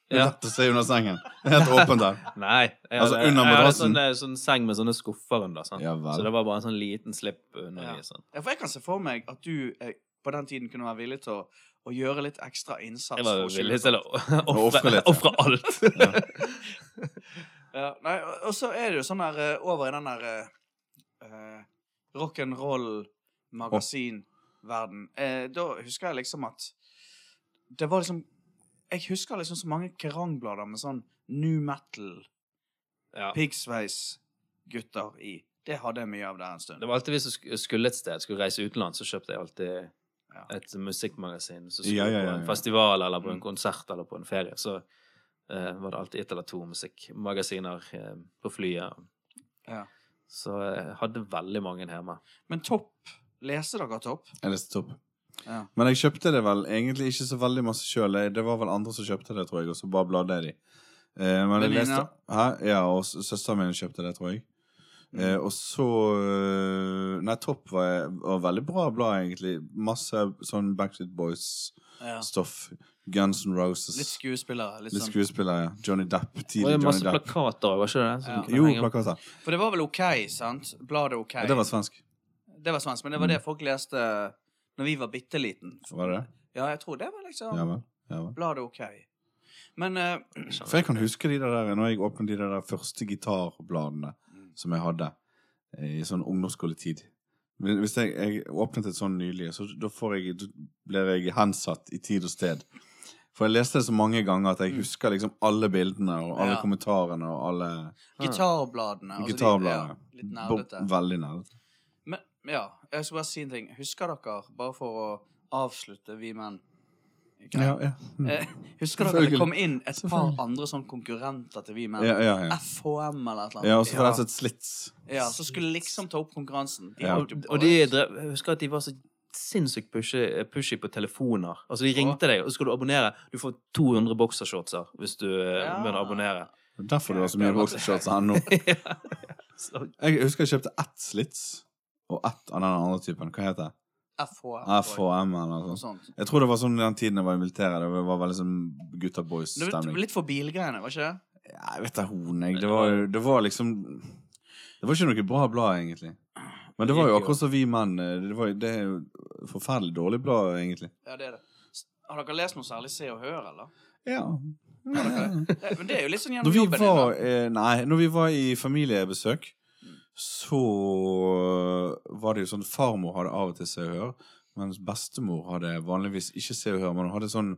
S2: Det er
S3: Ja.
S2: lett å se under sengen. Det er helt åpent der.
S3: Nei. Jeg
S2: Altså, under
S3: jeg hadde
S2: madrassen.
S3: sånn, eh, sånn seng med sånne skuffer under. Sant?
S2: Ja vel.
S3: Så det var bare en sånn liten slipp under.
S1: Ja.
S3: i, Sånn.
S1: ja. For jeg kan se for meg at du eh, på den tiden kunne være villig til å, å gjøre litt ekstra innsats.
S3: Jeg var
S1: for å skjule
S3: villig til å
S2: Ofre
S3: ofre
S2: litt, ja.
S3: ofre alt.
S1: Ja, nei, og- og så er det jo sånn der eh, over i den der eh, eh, rock'n'roll-magasinverden. Eh, da husker jeg liksom at det var liksom Jeg husker liksom så mange kerangblader med sånn new metal,
S3: Ja.
S1: piggsveis-gutter i. Det hadde jeg mye av der en stund.
S3: Det var alltid hvis du sk- skulle et sted, skulle reise utenlands, så kjøpte jeg alltid
S1: Ja.
S3: et musikkmagasin. Så skulle
S2: Ja, ja,
S3: du
S2: ja,
S3: på en
S2: ja.
S3: festival eller på en
S1: Mm.
S3: konsert eller på en ferie, så eh, var det alltid ett eller to musikkmagasiner eh, på flyet.
S1: Ja.
S3: Så jeg hadde veldig mange hjemme.
S1: Men Topp Leste dere Topp?
S2: Jeg leste opp.
S1: Ja.
S2: Men jeg kjøpte det vel egentlig ikke så veldig masse sjøl. Det var vel andre som kjøpte det, tror jeg, og så bare bladde jeg de. Eh, men jeg
S1: Venninna?
S2: leste, hæ? Ja, og s- søsteren min kjøpte det, tror jeg. Eh, og så eh, Nei, Topp var, var veldig bra blad, egentlig. Masse sånn Backstreet Boys-stoff.
S1: Ja.
S2: Guns N' Roses.
S1: Litt skuespillere. Litt
S2: Litt
S1: sånn.
S2: skuespillere, ja. Johnny Depp.
S3: Det
S2: Tidlig
S3: var jo masse
S2: Johnny Depp.
S3: plakater òg, var ikke det? Som
S1: Ja.
S3: kunne
S2: Jo,
S3: henge opp.
S2: plakater.
S1: For det var vel OK, sant? Bladet OK.
S2: Ja, det var svensk. Mm.
S1: Det var svensk, men det var det folk leste når vi var bitte liten.
S2: Var det det?
S1: Ja, jeg tror det var liksom
S2: Ja vel. Ja, vel.
S1: Bladet OK. Men eh,
S2: For jeg kan huske de der, når jeg åpnet de der første gitarbladene som jeg hadde eh, i sånn ungdomsskoletid. Men Hvis jeg, jeg åpnet et sånn nylig, så da, får jeg, da blir jeg hensatt i tid og sted. For jeg leste det så mange ganger at jeg husker liksom alle bildene og alle
S1: Ja.
S2: kommentarene og alle
S1: gitarbladene altså de-
S2: gitarbladene.
S1: Ja, litt
S2: Bo-
S1: nerdete.
S2: Veldig nerdete.
S1: Men ja, jeg skal bare si en ting. Husker dere, bare for å avslutte Vi menn Ikke?
S2: Ja, ja. Mm.
S1: Eh, Husker dere det
S2: Selvfølgelig.
S1: kom inn et par
S2: Selvfølgelig.
S1: andre sånn konkurrenter til Vi menn?
S2: Ja, ja, ja.
S1: FHM eller et eller annet.
S2: ja og så får jeg altså et slits.
S1: Ja, så skulle liksom ta opp konkurransen. De
S2: Ja.
S1: holdt jo på.
S3: Og de drev, jeg husker at de var så sinnssykt pushy, pushy på telefoner. Altså, de ringte deg, og så skal du abonnere. Du får 200 boksershortser hvis du ja.
S1: Ja.
S3: begynner å abonnere.
S2: Det er Derfor det var så mye boxershorts her nå.
S3: Så,
S2: Jeg husker jeg kjøpte ett slits og ett av den andre typen. Hva heter det?
S1: FHM.
S2: FHM eller noe
S1: og
S2: sånt.
S1: sånt.
S2: Jeg tror det var sånn i den tiden jeg var i militæret. Det var veldig sånn gutta
S1: Det var
S2: boys-stemning.
S1: litt for bilgreiene, var ikke det?
S2: Ja, jeg vet da hoen, jeg. Det var, jo- det var liksom Det var ikke noe bra blad, egentlig. Men det var jo akkurat som vi menn. eh, Det, var, jo- det er jo forferdelig dårlig blad, egentlig.
S1: Ja, det er det. S- Har dere lest noe særlig Se og Hør, eller?
S2: Ja.
S1: Det, men det er jo litt sånn
S2: Når
S1: gjennom
S2: vi
S1: jobben din,
S2: var,
S1: da.
S2: eh, nei, når vi var i familiebesøk, så var det jo sånn Farmor hadde av og til Se og Hør, mens bestemor hadde vanligvis ikke Se og Hør, men hun hadde sånn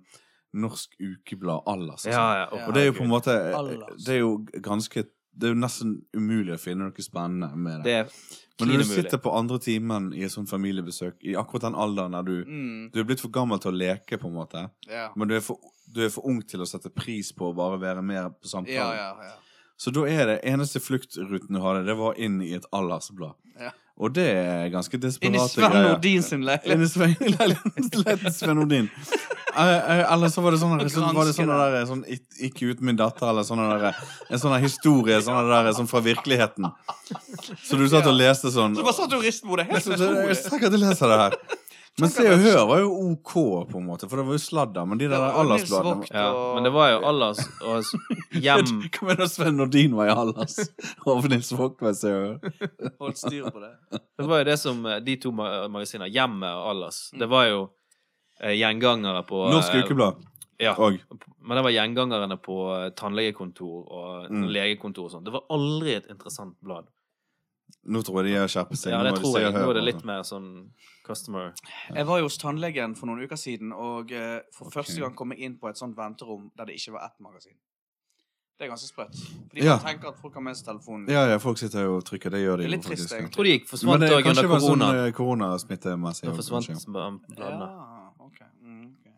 S2: Norsk Ukeblad Allers. og
S3: ja,
S2: sånn.
S3: ja.
S1: Ja.
S2: Og det er jo på en måte eh,
S1: Allers.
S2: Det er jo ganske Det er jo nesten umulig å finne noe spennende med det.
S3: Det er
S2: Men når du
S3: klin umulig.
S2: sitter på andre timen i et sånt familiebesøk, i akkurat den alderen der du
S1: Mm,
S2: Du er blitt for gammel til å leke, på en måte.
S1: ja.
S2: Men du er for, du er for ung til å sette pris på å bare være med på samtalen.
S1: Ja, ja, ja.
S2: Så da er det eneste fluktruten du hadde, det var inn i et Allers-blad.
S1: Ja.
S2: Og det er ganske
S1: Inn i
S2: desperate
S1: Sven
S2: greier.
S1: Nordin sin leilighet.
S2: Inni Sven Leiligheten Sven Nordin. Eh, eh, Eller så var det sånn der- så var det sånn der sånn, ik- 'Ikke ut min datter' eller sånn der, en sånn der historie sånn der, sånn fra virkeligheten. Så du satt og leste sånn.
S1: Så bare satt du og ristet på hodet.
S2: Jeg
S1: Helt
S2: så- så- jeg
S1: utrolig.
S2: tenker at jeg leser det her. Men Se og Hør var jo OK, på en måte, for det var jo sladder. Men de der
S1: Ja, og Nils
S2: Aldersbladene
S1: Vogt
S3: ja.
S1: og-
S3: Men det var jo Allers og s- hjem
S2: Hva mener du Sven Nordin var i Allas? Og Nils Vogt var i Se og Hør.
S1: Holdt styr på det.
S3: Det var jo det som eh, de to ma- magasinene, Hjemmet og Allers, det var jo eh, gjengangere på eh,
S2: Norsk Ukeblad
S3: Ja.
S2: og
S3: Men det var gjengangerne på eh, tannlegekontor og
S2: Mm.
S3: legekontor og sånn. Det var aldri et interessant blad.
S2: Nå tror jeg de har skjerpet seg.
S3: Ja,
S2: Nå
S3: det
S2: var det
S3: tror
S2: Se
S3: jeg.
S2: og Hør,
S3: Nå er det
S2: altså.
S3: litt mer sånn customer
S1: Jeg var jo hos tannlegen for noen uker siden, og eh, for
S2: Ok.
S1: første gang kom jeg inn på et sånt venterom der det ikke var ett magasin. Det er ganske sprøtt. Fordi
S2: Ja.
S1: man tenker at folk har med seg telefonen.
S2: Ja, ja, folk sitter jo og trykker. Det gjør de
S1: Det er
S2: jo
S1: litt trist,
S2: faktisk.
S1: egentlig.
S3: Jeg tror de gikk
S2: Men
S3: forsvant
S2: det
S3: òg
S2: kanskje
S3: under
S2: var sånn
S3: koronaen.
S2: eh, koronasmittemessig.
S3: Da
S2: og
S3: forsvant
S2: kanskje.
S3: bladene.
S1: Ja, ok. Mm, ok.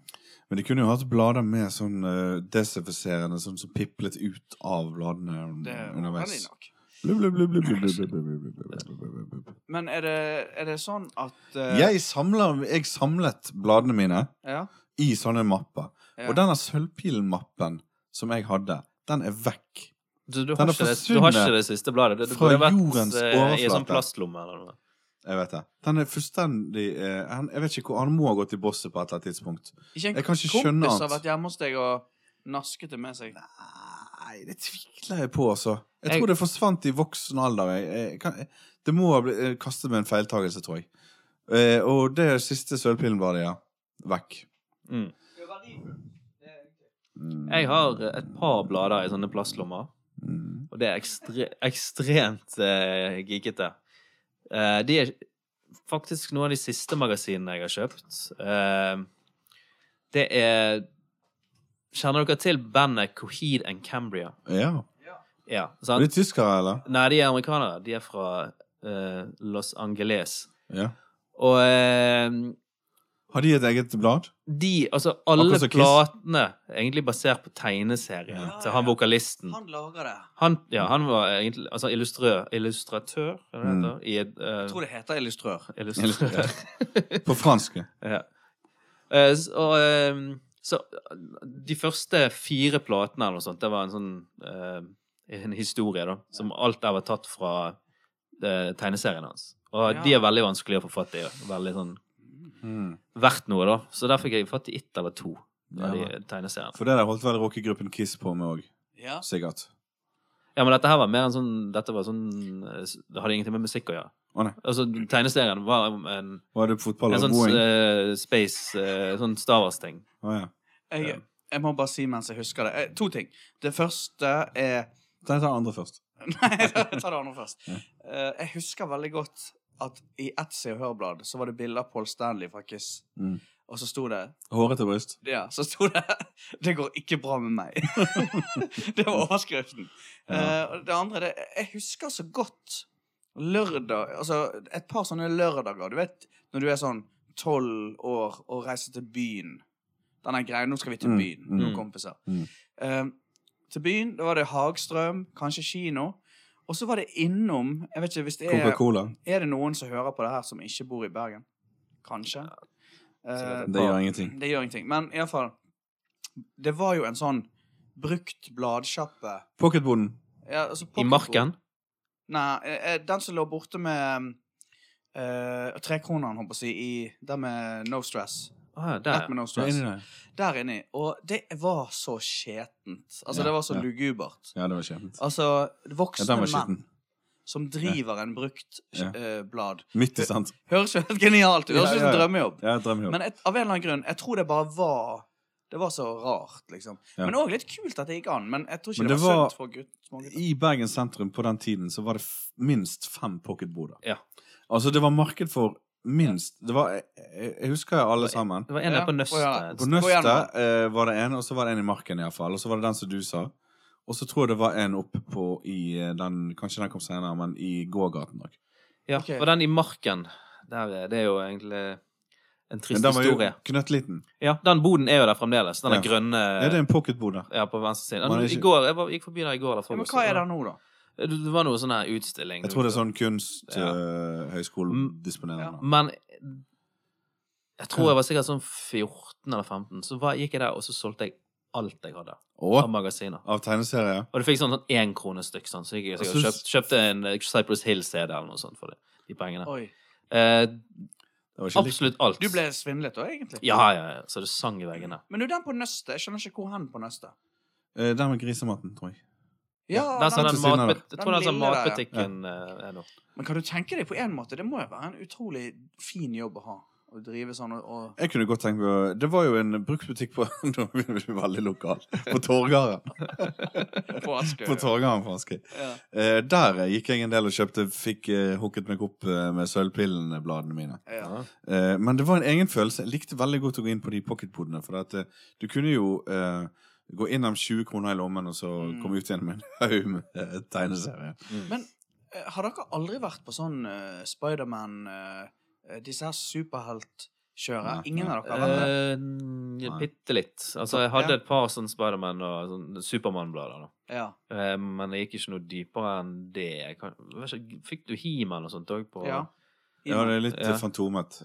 S2: Men de kunne jo hatt blader med sånn eh, desinfiserende sånn som piplet ut av bladene un-
S1: Det er veldig
S2: Mm, underveis.
S1: nok.
S2: Blub, blub, blub, blub, blub, blub, blub, blub, blub, blub, blub, blub, blub.
S1: Men er det, er det sånn at eh,
S2: Jeg, samler, jeg samlet bladene mine
S1: ja,
S2: i sånne mapper.
S1: ja.
S2: Og denne sølvpilen-mappen som jeg hadde, den er vekk.
S3: Du, du,
S2: Den
S3: har
S2: er
S3: ikke det, du har ikke
S2: forsvunnet
S3: det siste bladet. Det, det
S2: fra
S3: burde vært
S2: jordens
S3: eh, i en
S2: overflate.
S3: sånn plastlomme eller noe.
S2: Jeg vet det. Den er fullstendig eh, han, Jeg vet ikke hvor Han må ha gått i bosset på et eller annet tidspunkt.
S1: Ikke en
S2: Jeg kan ikke skjønne
S1: kompis
S2: annet.
S1: har vært hjemme hos deg og nasket det med seg.
S2: Nei, det tviler jeg på, altså. Jeg
S3: Jeg-
S2: tror det forsvant i voksen alder. Jeg, jeg, kan, det må ha blitt eh, kastet med en feiltagelse, tror jeg. Eh, og det siste sølvpillen var det, ja. Vekk.
S3: Mm.
S1: Det
S2: Mm.
S3: Jeg har eh, et par blader i sånne plastlommer,
S2: Mm.
S3: og det er ekstre, ekstremt eh, gikete. Eh, de er faktisk noen av de siste magasinene jeg har kjøpt. Eh, det er Kjenner dere til bandet Coheed and Cambria?
S2: Ja.
S3: Ja,
S2: Er
S3: sant?
S2: de tyskere, eller?
S3: Nei, de er amerikanere. De er fra eh, Los Angeles.
S2: Ja.
S3: Og eh,
S2: Har de et eget blad?
S3: de, altså alle
S2: Akkurat som Kiss.
S3: platene er egentlig basert på tegneserien
S1: Ja,
S3: til han
S1: ja.
S3: vokalisten.
S1: Han lager det.
S3: Han, ja, han var egentlig altså illustrør, illustratør, er det det heter? I et, eh,
S1: Jeg tror det heter illustrør.
S3: illustratør.
S2: På fransk? ja.
S3: ja. Eh, s- og, eh, så de første fire platene eller noe sånt, det var en sånn eh, en historie, da, som alt der var tatt fra eh, tegneseriene hans. Og
S1: Ja.
S3: de er veldig vanskelig å få fatt i. og Veldig sånn
S2: Mm.
S3: verdt noe, da. Så der fikk jeg fatt i ett eller to
S2: Ja.
S3: av de tegneseriene.
S2: For det der holdt vel rockegruppen Kiss på med òg,
S1: Ja.
S2: sikkert.
S3: Ja, men dette her var mer en sånn Dette var sånn eh, s- Det hadde ingenting med musikk å gjøre.
S2: Å nei.
S3: Altså, tegneserien var en, en,
S2: Var det fotball
S3: en
S2: eller
S3: sånn
S2: boing?
S3: eh, space eh, Sånn Star Wars-ting.
S2: Å, ja.
S1: Jeg, jeg må bare si mens jeg husker det. Eh, to ting. Det første er
S2: Ta ta den andre først.
S1: Nei, jeg tar det andre først.
S2: Ja.
S1: Eh, jeg husker veldig godt at i ett Se og Hør-blad så var det bilde av Paul Stanley fra Kiss.
S2: Mm.
S1: Og så sto det
S2: Hårete bryst.
S1: Ja, så sto det 'Det går ikke bra med meg'. det var overskriften.
S2: Ja.
S1: Eh, og det andre det, Jeg husker så godt lørdag Altså et par sånne lørdager. Du vet når du er sånn tolv år og reiser til byen. Denne greia 'Nå skal vi til
S2: Mm,
S1: byen',
S2: mm.
S1: noen kompiser.
S2: Mm.
S1: Eh, til byen, da var det Hagstrøm, kanskje kino. Og så var det innom Jeg vet ikke hvis det er
S2: Coca-Cola.
S1: Er det noen som hører på det her som ikke bor i Bergen? Kanskje? Eh,
S2: Det gjør ingenting.
S1: det gjør ingenting. Men iallfall Det var jo en sånn brukt bladsjappe
S2: Pocketboden.
S1: ja, altså
S3: I marken.
S1: Nei, eh, eh, den som lå borte med eh, Trekroneren, holdt på å si, i den med No Stress.
S3: Å
S1: Der,
S3: ja, der, ja.
S1: med no
S2: Ja,
S1: stress.
S2: inni der.
S1: Der inni. Og det var så skjetent. Altså,
S2: Ja,
S1: det var så
S2: ja.
S1: lugubert.
S2: Ja, det var skjebnet.
S1: Altså,
S2: Ja,
S1: voksne
S2: den var
S1: menn
S2: skitten.
S1: som driver en brukt
S2: Ja.
S1: eh, blad.
S2: Midt i sant.
S1: Høres jo helt genialt ut. Høres
S2: Ja,
S1: ut som
S2: ja,
S1: en
S2: ja.
S1: drømmejobb.
S2: Ja, drømmejobb.
S1: Men et, av en eller annen grunn, jeg tror det bare var Det var så rart, liksom.
S2: Ja.
S1: Men òg litt kult at det gikk an. Men jeg tror ikke
S2: Men
S1: det,
S2: det
S1: var,
S2: var-
S1: sunt for gutt, smågutter.
S2: I Bergen sentrum på den tiden så var det f minst fem pocketboder.
S3: Ja.
S2: Altså, det var marked for minst Det var Jeg, jeg jeg husker alle sammen.
S3: Det var en der
S1: Ja,
S3: på
S1: å ja.
S2: På
S3: Nøstet.
S1: igjen,
S2: Nøstet
S1: da.
S2: eh, var det en, og så var det en i Marken iallfall. Og så var det den som du sa. Og så tror jeg det var en oppe på i eh, den Kanskje den kom senere, men i gågaten òg.
S3: Ja,
S1: Ok.
S3: og den i marken. Der, eh, det er jo egentlig en
S2: Men
S3: trist
S2: den var jo
S3: historie. Eh.
S2: knøttliten.
S3: Ja, den boden er jo der fremdeles. Den
S2: Ja.
S3: der grønne
S2: Er det en pocketbod der?
S3: ja, på venstre side.
S2: Man er
S3: Den,
S2: ikke-
S3: I går, jeg var, gikk forbi der i går. Der,
S1: Ja, men hva er det nå, da?
S3: Det det var noe sånn her utstilling.
S2: Jeg tror det er sånn kunst
S3: Ja.
S2: eh,
S3: Mm.
S1: Ja.
S2: høyskoledisponerende.
S3: Men jeg tror jeg var sikkert sånn 14 eller 15. Så var, gikk jeg der, og så solgte jeg alt jeg hadde av
S2: Og
S3: magasiner.
S2: av tegneserier.
S3: Og du fikk sånn sånn én krone stykk, sånn, så gikk jeg sikkert
S2: Jeg
S3: og kjøpt, kjøpte en eh, Cypress Hill-CD eller noe sånt for de, de pengene.
S1: Oi.
S3: Eh,
S2: Det var ikke likt.
S3: absolutt alt.
S1: Du ble svindlet da, egentlig?
S3: Ja, ja, ja. Så det sang i veggene.
S1: Men du, den på nøstet, jeg skjønner ikke hvor hen på nøstet.
S2: Eh, Den med grisematen, tror jeg.
S3: der sa
S2: den
S3: den
S2: til siden av
S1: det.
S3: matbut jeg tror
S1: Den
S3: den sa
S1: lille der, ja.
S3: matbutikken eh, er nå.
S1: Men kan du tenke deg på en måte, det må jo være en utrolig fin jobb å ha. Å drive sånn og, og
S2: Jeg kunne godt tenkt meg å- Det var jo en bruktbutikk på Nå blir vi veldig lokal. På Torgaren.
S1: På Askøy.
S2: På Torgaren på Askøy.
S1: ja.
S2: Eh, der gikk jeg en del og kjøpte Fikk eh, hooket meg opp eh, med sølvpillenbladene mine.
S1: Ja.
S2: Eh, men det var en egen følelse. Jeg likte veldig godt å gå inn på de pocketbodene. For at, eh, du kunne jo eh, gå inn med 20 kroner i lommen, og så
S1: Mm.
S2: komme ut igjen med en haug med eh, tegneserier.
S1: Eh, Har dere aldri vært på sånn eh, Spiderman eh, eh, Disse her superheltkjøret?
S2: Nei, Eh,
S1: Ingen
S2: nei.
S1: av dere har vært det?
S3: Uh,
S2: Nei.
S3: Bitte litt. Altså, jeg hadde et par sånn Spiderman og sånn Supermann-blader. da.
S1: Ja.
S3: Eh, Men jeg gikk ikke noe dypere enn det. Jeg kan, jeg vet ikke, fikk du He-Man og sånt òg på
S1: ja.
S2: Ja, det er litt
S3: Ja.
S2: eh, fantomet.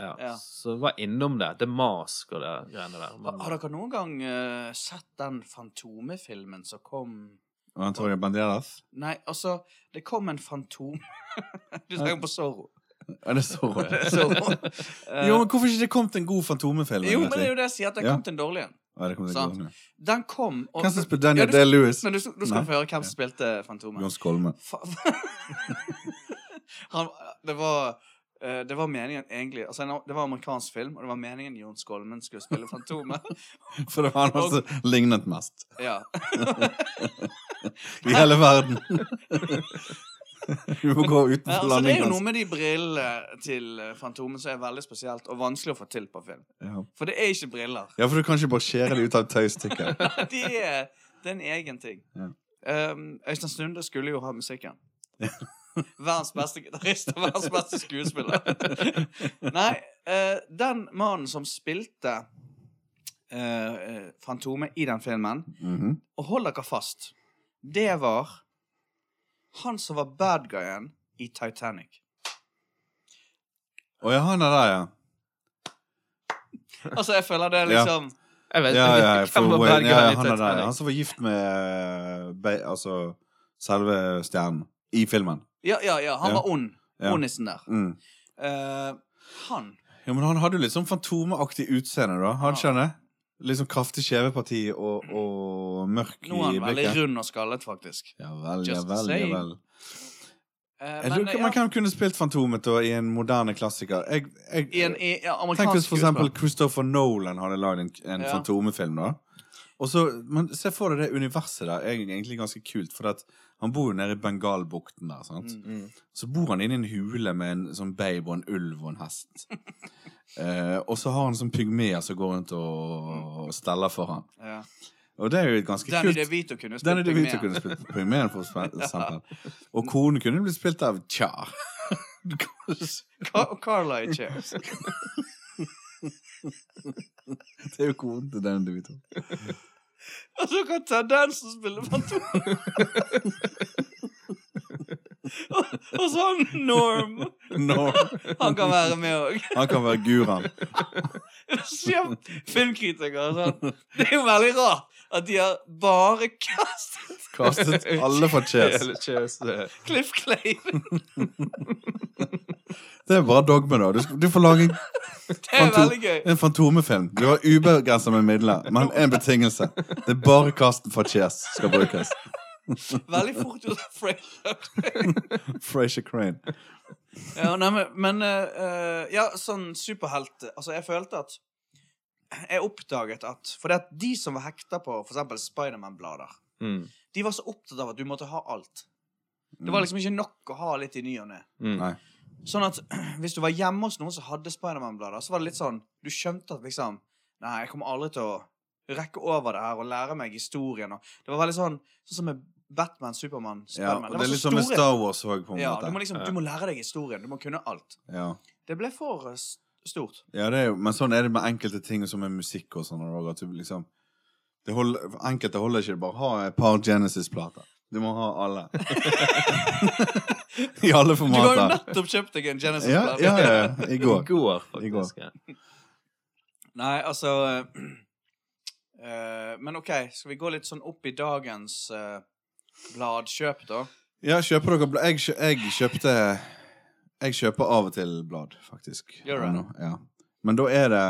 S3: Ja,
S1: Ja.
S3: Så det var innom det. Det mask og det greiene der.
S1: Har,
S3: Men,
S2: Mm.
S1: har dere noen gang eh, sett den Fantomet-filmen som kom
S2: Og Antonia Banderas.
S1: Nei, altså, det kom en fantom Du snakker på Zorro.
S2: Ja, det står
S1: Det er
S2: det.
S1: Zorro. Eh,
S2: Jo, men hvorfor ikke det kommet en god Fantomet-film?
S1: jo, men det
S2: egentlig?
S1: er jo det jeg sier, at den
S2: Ja.
S1: kom til en dårlig en.
S2: Ja, det kom til å
S1: Sant.
S2: gå ned.
S1: Den kom og
S2: Hvem som spiller Daniel
S1: Ja, du-
S2: Day-Lewis?
S1: Nå, du, nå skal
S2: Nei.
S1: du få høre hvem som spilte Fantomet.
S2: Jon Skolme.
S1: Fa- Han, det var eh, det var meningen egentlig altså, en- Det var amerikansk film, og det var meningen Jon Skolmen skulle spille Fantomet.
S2: For det var han også lignet mest
S1: Ja.
S2: i hele verden. Vi må gå
S1: Nei, altså,
S2: utenfor
S1: det er jo
S2: landingen
S1: noe med de brillene til eh, Fantomet som er veldig spesielt og vanskelig å få til på film.
S2: Ja.
S1: For det er ikke briller.
S2: ja, for du kan ikke bare skjære det ut av et tøystykke.
S1: De er, det er en egen ting.
S2: Ja.
S1: Um, Øystein Sunde skulle jo ha musikken. Verdens beste gitarist og verdens beste skuespiller. Nei, eh, den mannen som spilte eh, eh, Fantomet i den filmen
S2: Mhm.
S1: Og hold dere fast. Det var han som var bad guyen i Titanic.
S2: Å ja, han er der, ja.
S1: Altså, jeg føler det er liksom
S3: jeg vet
S2: Ja,
S3: ikke
S2: ja, for,
S3: hvem var
S2: ja,
S3: Bergen
S2: ja,
S3: i
S2: han er der.
S3: Titanic.
S2: Han som var gift med eh, Be altså, selve stjernen i filmen.
S1: Ja, ja, ja. Han
S2: Ja.
S1: var ond.
S2: Ja.
S1: Ond nissen der.
S2: Mm.
S1: Eh, han
S2: Ja, men han hadde jo litt sånn fantomeaktig utseende, da. Han
S1: Ja.
S2: skjønner? Litt sånn kraftig skjeveparti og, og mørk
S1: Nå er han
S2: i
S1: veldig
S2: blikket.
S1: rund og skallet, faktisk.
S2: Ja vel, ja
S1: Just
S2: vel, ja
S1: saying.
S2: vel.
S1: Eh,
S2: Jeg
S1: men,
S2: tror
S1: eh,
S2: ikke man kan kunne spilt Fantomet da, i en moderne klassiker. Jeg,
S1: ja,
S2: jeg,
S1: i en i, ja,
S2: Tenk
S1: amerikansk
S2: hvis for eksempel
S1: skuespiller.
S2: Christopher Nolan hadde lagd en, en
S1: Ja.
S2: Fantomefilm, da. Og så, men se for deg det universet der. er egentlig ganske kult, for at han bor jo nede i Bengalbukten der. sant?
S1: Mm.
S3: Mm.
S2: Så bor han inne i en hule med en sånn babe og en ulv og en hest. eh, og så har han sånn pygmeer som går rundt
S1: Mm.
S2: og, og steller for han.
S1: Ja.
S2: Og det er jo et ganske
S1: Danny
S2: kult.
S1: DeVito kunne jo
S2: Danny
S1: spilt
S2: DeVito
S1: med.
S2: kunne spilt pygmeen, for eksempel. Og konen kunne blitt spilt av Tja. Du kan ikke si-
S1: Ka- Carla i Chairs.
S2: det er jo konen til Danny DeVito.
S1: Og så kan Ted Danson spille Fantomet. og, og så har han Norm.
S2: Norm.
S1: Han kan være med òg.
S2: Han kan være Guran.
S1: Filmkritiker og sånn. Det er jo veldig rart at de har bare kastet
S2: Kastet alle for Cheers.
S3: Hele Cheers. det-
S1: Cliff Clay.
S2: Det er bare dogme, da. Du, skal- du får lage en,
S1: Det er
S2: Fantom-
S1: veldig gøy.
S2: en fantomefilm. Du har ubegrenset med midler, men en betingelse. Det er bare Karsten for Cheers skal brukes.
S1: Veldig fort gjort av Fraser.
S2: Frasier Crane.
S1: Ja, nei, men, men eh, eh, Ja, sånn superhelt Altså, jeg følte at Jeg oppdaget at For det at de som var hekta på for eksempel Spiderman-blader,
S3: Mm.
S1: de var så opptatt av at du måtte ha alt. Det
S2: Mm.
S1: var liksom ikke nok å ha litt i ny og ne.
S3: Mm.
S2: Nei.
S1: Sånn at hvis du var hjemme hos noen som hadde Spiderman-blader, så var det litt sånn Du skjønte at liksom Nei, jeg kommer aldri til å rekke over det her og lære meg historien og Det var veldig sånn Sånn som med Batman, Supermann,
S2: Ja,
S1: Spiderman.
S2: og det er litt som med Star Wars òg, på en
S1: ja, du må
S2: måte.
S1: liksom Du må lære deg historien. Du må kunne alt.
S2: Ja.
S1: Det ble for eh, s- stort.
S2: ja, det er jo Men sånn er det med enkelte ting som er musikk og sånn. og At du liksom det holder, for Enkelte holder ikke det bare å ha et par Genesis-plater. Du må ha alle. I alle
S1: Du har jo
S2: formater.
S1: nettopp kjøpt deg en
S2: Ja,
S1: Genesis-plate.
S2: ja, ja, ja. I går.
S3: I går,
S2: I går.
S3: faktisk. Ja.
S1: Nei, altså eh, eh, Men OK, skal vi gå litt sånn opp i dagens eh, bladkjøp, da?
S2: Ja, kjøper dere blad? Jeg, kjø- jeg kjøpte Jeg kjøper av og til blad, faktisk.
S1: Gjør du det?
S2: Nå, Ja. Men da er det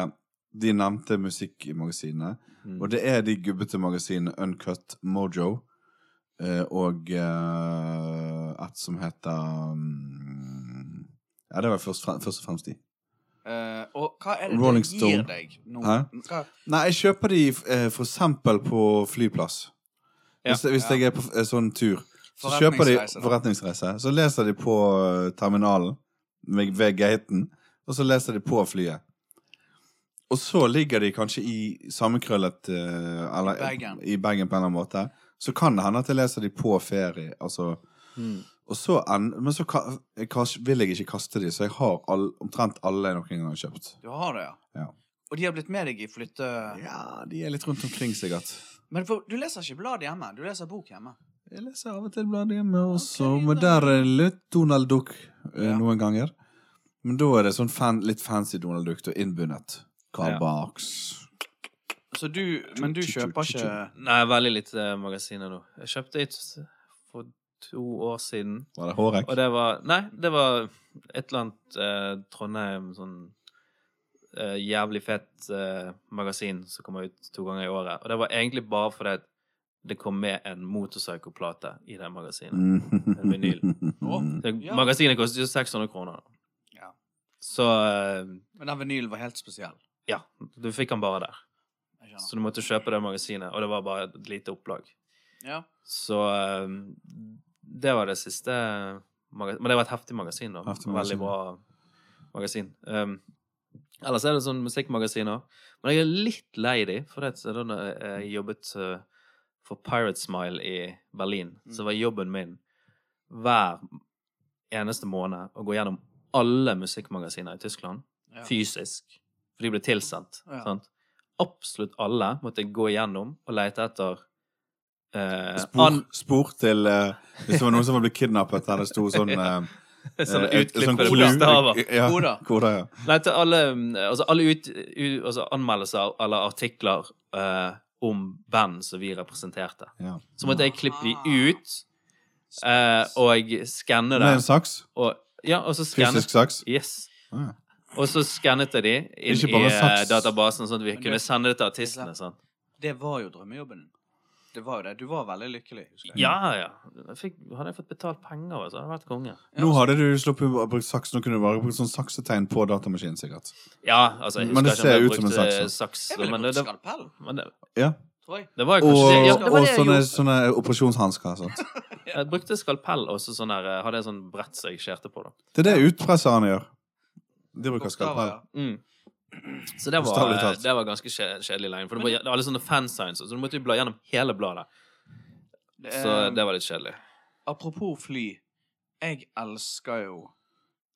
S2: de nevnte musikkmagasinene.
S3: Mm.
S2: Og det er de gubbete magasinene Uncut, Mojo eh, og eh, et som heter mm, Ja, det var først, fre- først og fremst de.
S1: Eh, og hva er det
S2: Rolling
S1: det gir
S2: Stone.
S1: deg nå?
S2: Hæ?
S1: Hva?
S2: Nei, jeg kjøper de eh, for eksempel på flyplass.
S3: Ja.
S2: Hvis, hvis
S1: Ja.
S2: jeg er på eh, sånn tur. Så kjøper de
S1: Forretningsreise, da.
S2: forretningsreise. Så leser de på eh, terminalen ved, ved gaten, og så leser de på flyet. Og så ligger de kanskje i sammenkrøllet eh, eller,
S1: I bagen.
S2: i bagen på en eller annen måte. Så kan det hende at jeg leser de på ferie. Altså,
S3: Mm.
S2: og så en, men så ka, jeg kas- vil jeg ikke kaste de, så jeg har all, omtrent alle jeg noen gang har kjøpt.
S1: Du har det, ja.
S2: Ja.
S1: Og de har blitt med deg i flytte...
S2: Ja, de er litt rundt omkring, sikkert.
S1: Men for, du leser ikke blad hjemme, du leser bok hjemme.
S2: Jeg leser av og til bladet hjemme også,
S1: Ok, da.
S2: men der er litt Donald Duck eh,
S1: Ja.
S2: noen ganger. Men da er det sånn fan, litt fancy Donald Duck og innbundet. Karl
S3: Ja.
S2: Barks.
S1: Så du, men du kjøper ikke...
S3: Nei, veldig lite eh, magasiner nå. Jeg kjøpte et for to år siden.
S2: Var det Hårek?
S3: Og det var Nei, det var et eller annet eh, Trondheim sånn eh, jævlig fett eh, magasin som kommer ut to ganger i året. Og det var egentlig bare fordi at det kom med en motorpsykoplate i det magasinet.
S2: Mm.
S3: Vinyl.
S1: Å.
S3: Det,
S1: Ja.
S3: Magasinet kostet jo 600 kroner.
S1: Ja.
S3: Så eh,
S1: Men den vinylen var helt spesiell.
S3: ja, du fikk den bare der.
S1: Jeg
S3: Så
S1: skjønner.
S3: du måtte kjøpe det magasinet, og det var bare et lite opplag.
S1: Ja.
S3: Så eh, det var det siste eh, maga- Men det var et heftig magasin, da.
S2: Heftig magasin,
S3: Veldig bra magasin. Um, ellers er det sånn musikkmagasiner. Men jeg er litt lei de, for det, er da når jeg jobbet eh, for Pirate Smile i Berlin,
S2: Mm.
S3: så var jobben min hver eneste måned å gå gjennom alle musikkmagasiner i Tyskland
S1: Ja.
S3: fysisk. For de ble tilsendt.
S1: Ja.
S3: Sant? Absolutt alle måtte jeg gå igjennom og lete etter eh,
S2: Spor,
S3: an-
S2: spor til eh, Hvis det var noen som var blitt kidnappet, der det sto sånn eh,
S3: Sånne
S2: eh, et- sånn
S3: utklippede
S2: clue.
S3: bokstaver.
S2: Ja,
S1: Koder.
S2: koder, ja.
S3: Lete alle, mm, altså alle ut, u, altså anmeldelser eller artikler eh, om band som vi representerte.
S2: ja.
S1: Ah.
S3: Så måtte jeg klippe de ut, eh, og skanne det.
S2: Med en saks?
S3: Og, ja, og så skannet
S2: Fysisk saks?
S3: Yes.
S2: Ah.
S3: Og så skannet jeg de inn
S2: Ikke
S3: i
S2: bare
S3: eh,
S2: saks.
S3: databasen, sånn at vi
S1: Men
S3: kunne
S1: det-
S3: sende det til artistene. sant?
S1: Det var jo drømmejobben. Det var jo det. Du var veldig lykkelig. husker jeg.
S3: Ja, ja. Jeg fikk, hadde jeg fått betalt penger, så hadde jeg vært konge.
S1: Ja,
S2: Nå
S1: altså,
S2: hadde du sluppet å bruke saks, nå kunne du bare brukt sånn saksetegn på datamaskinen, sikkert.
S3: Ja, altså, jeg
S2: Men det
S3: husker
S2: ser
S3: ikke om jeg
S2: ut som en
S3: brukte saks.
S2: saks,
S1: Jeg ville
S3: men, det,
S1: brukt
S3: det,
S1: skalpell,
S3: men det,
S2: Ja.
S1: tror jeg.
S3: det var
S2: Og,
S3: jo kanskje det. Ja, det
S2: og
S3: var det jeg
S2: sånne,
S3: gjorde.
S2: sånne altså. operasjonshansker. sant?
S3: Jeg brukte skalpell, og så sånn der, eh, hadde jeg sånn brett som jeg skjærte på. da.
S2: Det er det utpresserne gjør. De bruker skalpell.
S1: Bokstaver,
S3: Mm. Så det var,
S2: Bokstavelig talt.
S3: det var ganske kje- kjedelig løgn. For det var det var alle sånne fansigns, så du måtte jo bla gjennom hele bladet.
S1: ja.
S3: Så
S1: Eh,
S3: det var litt kjedelig.
S1: Apropos fly. Jeg elsker jo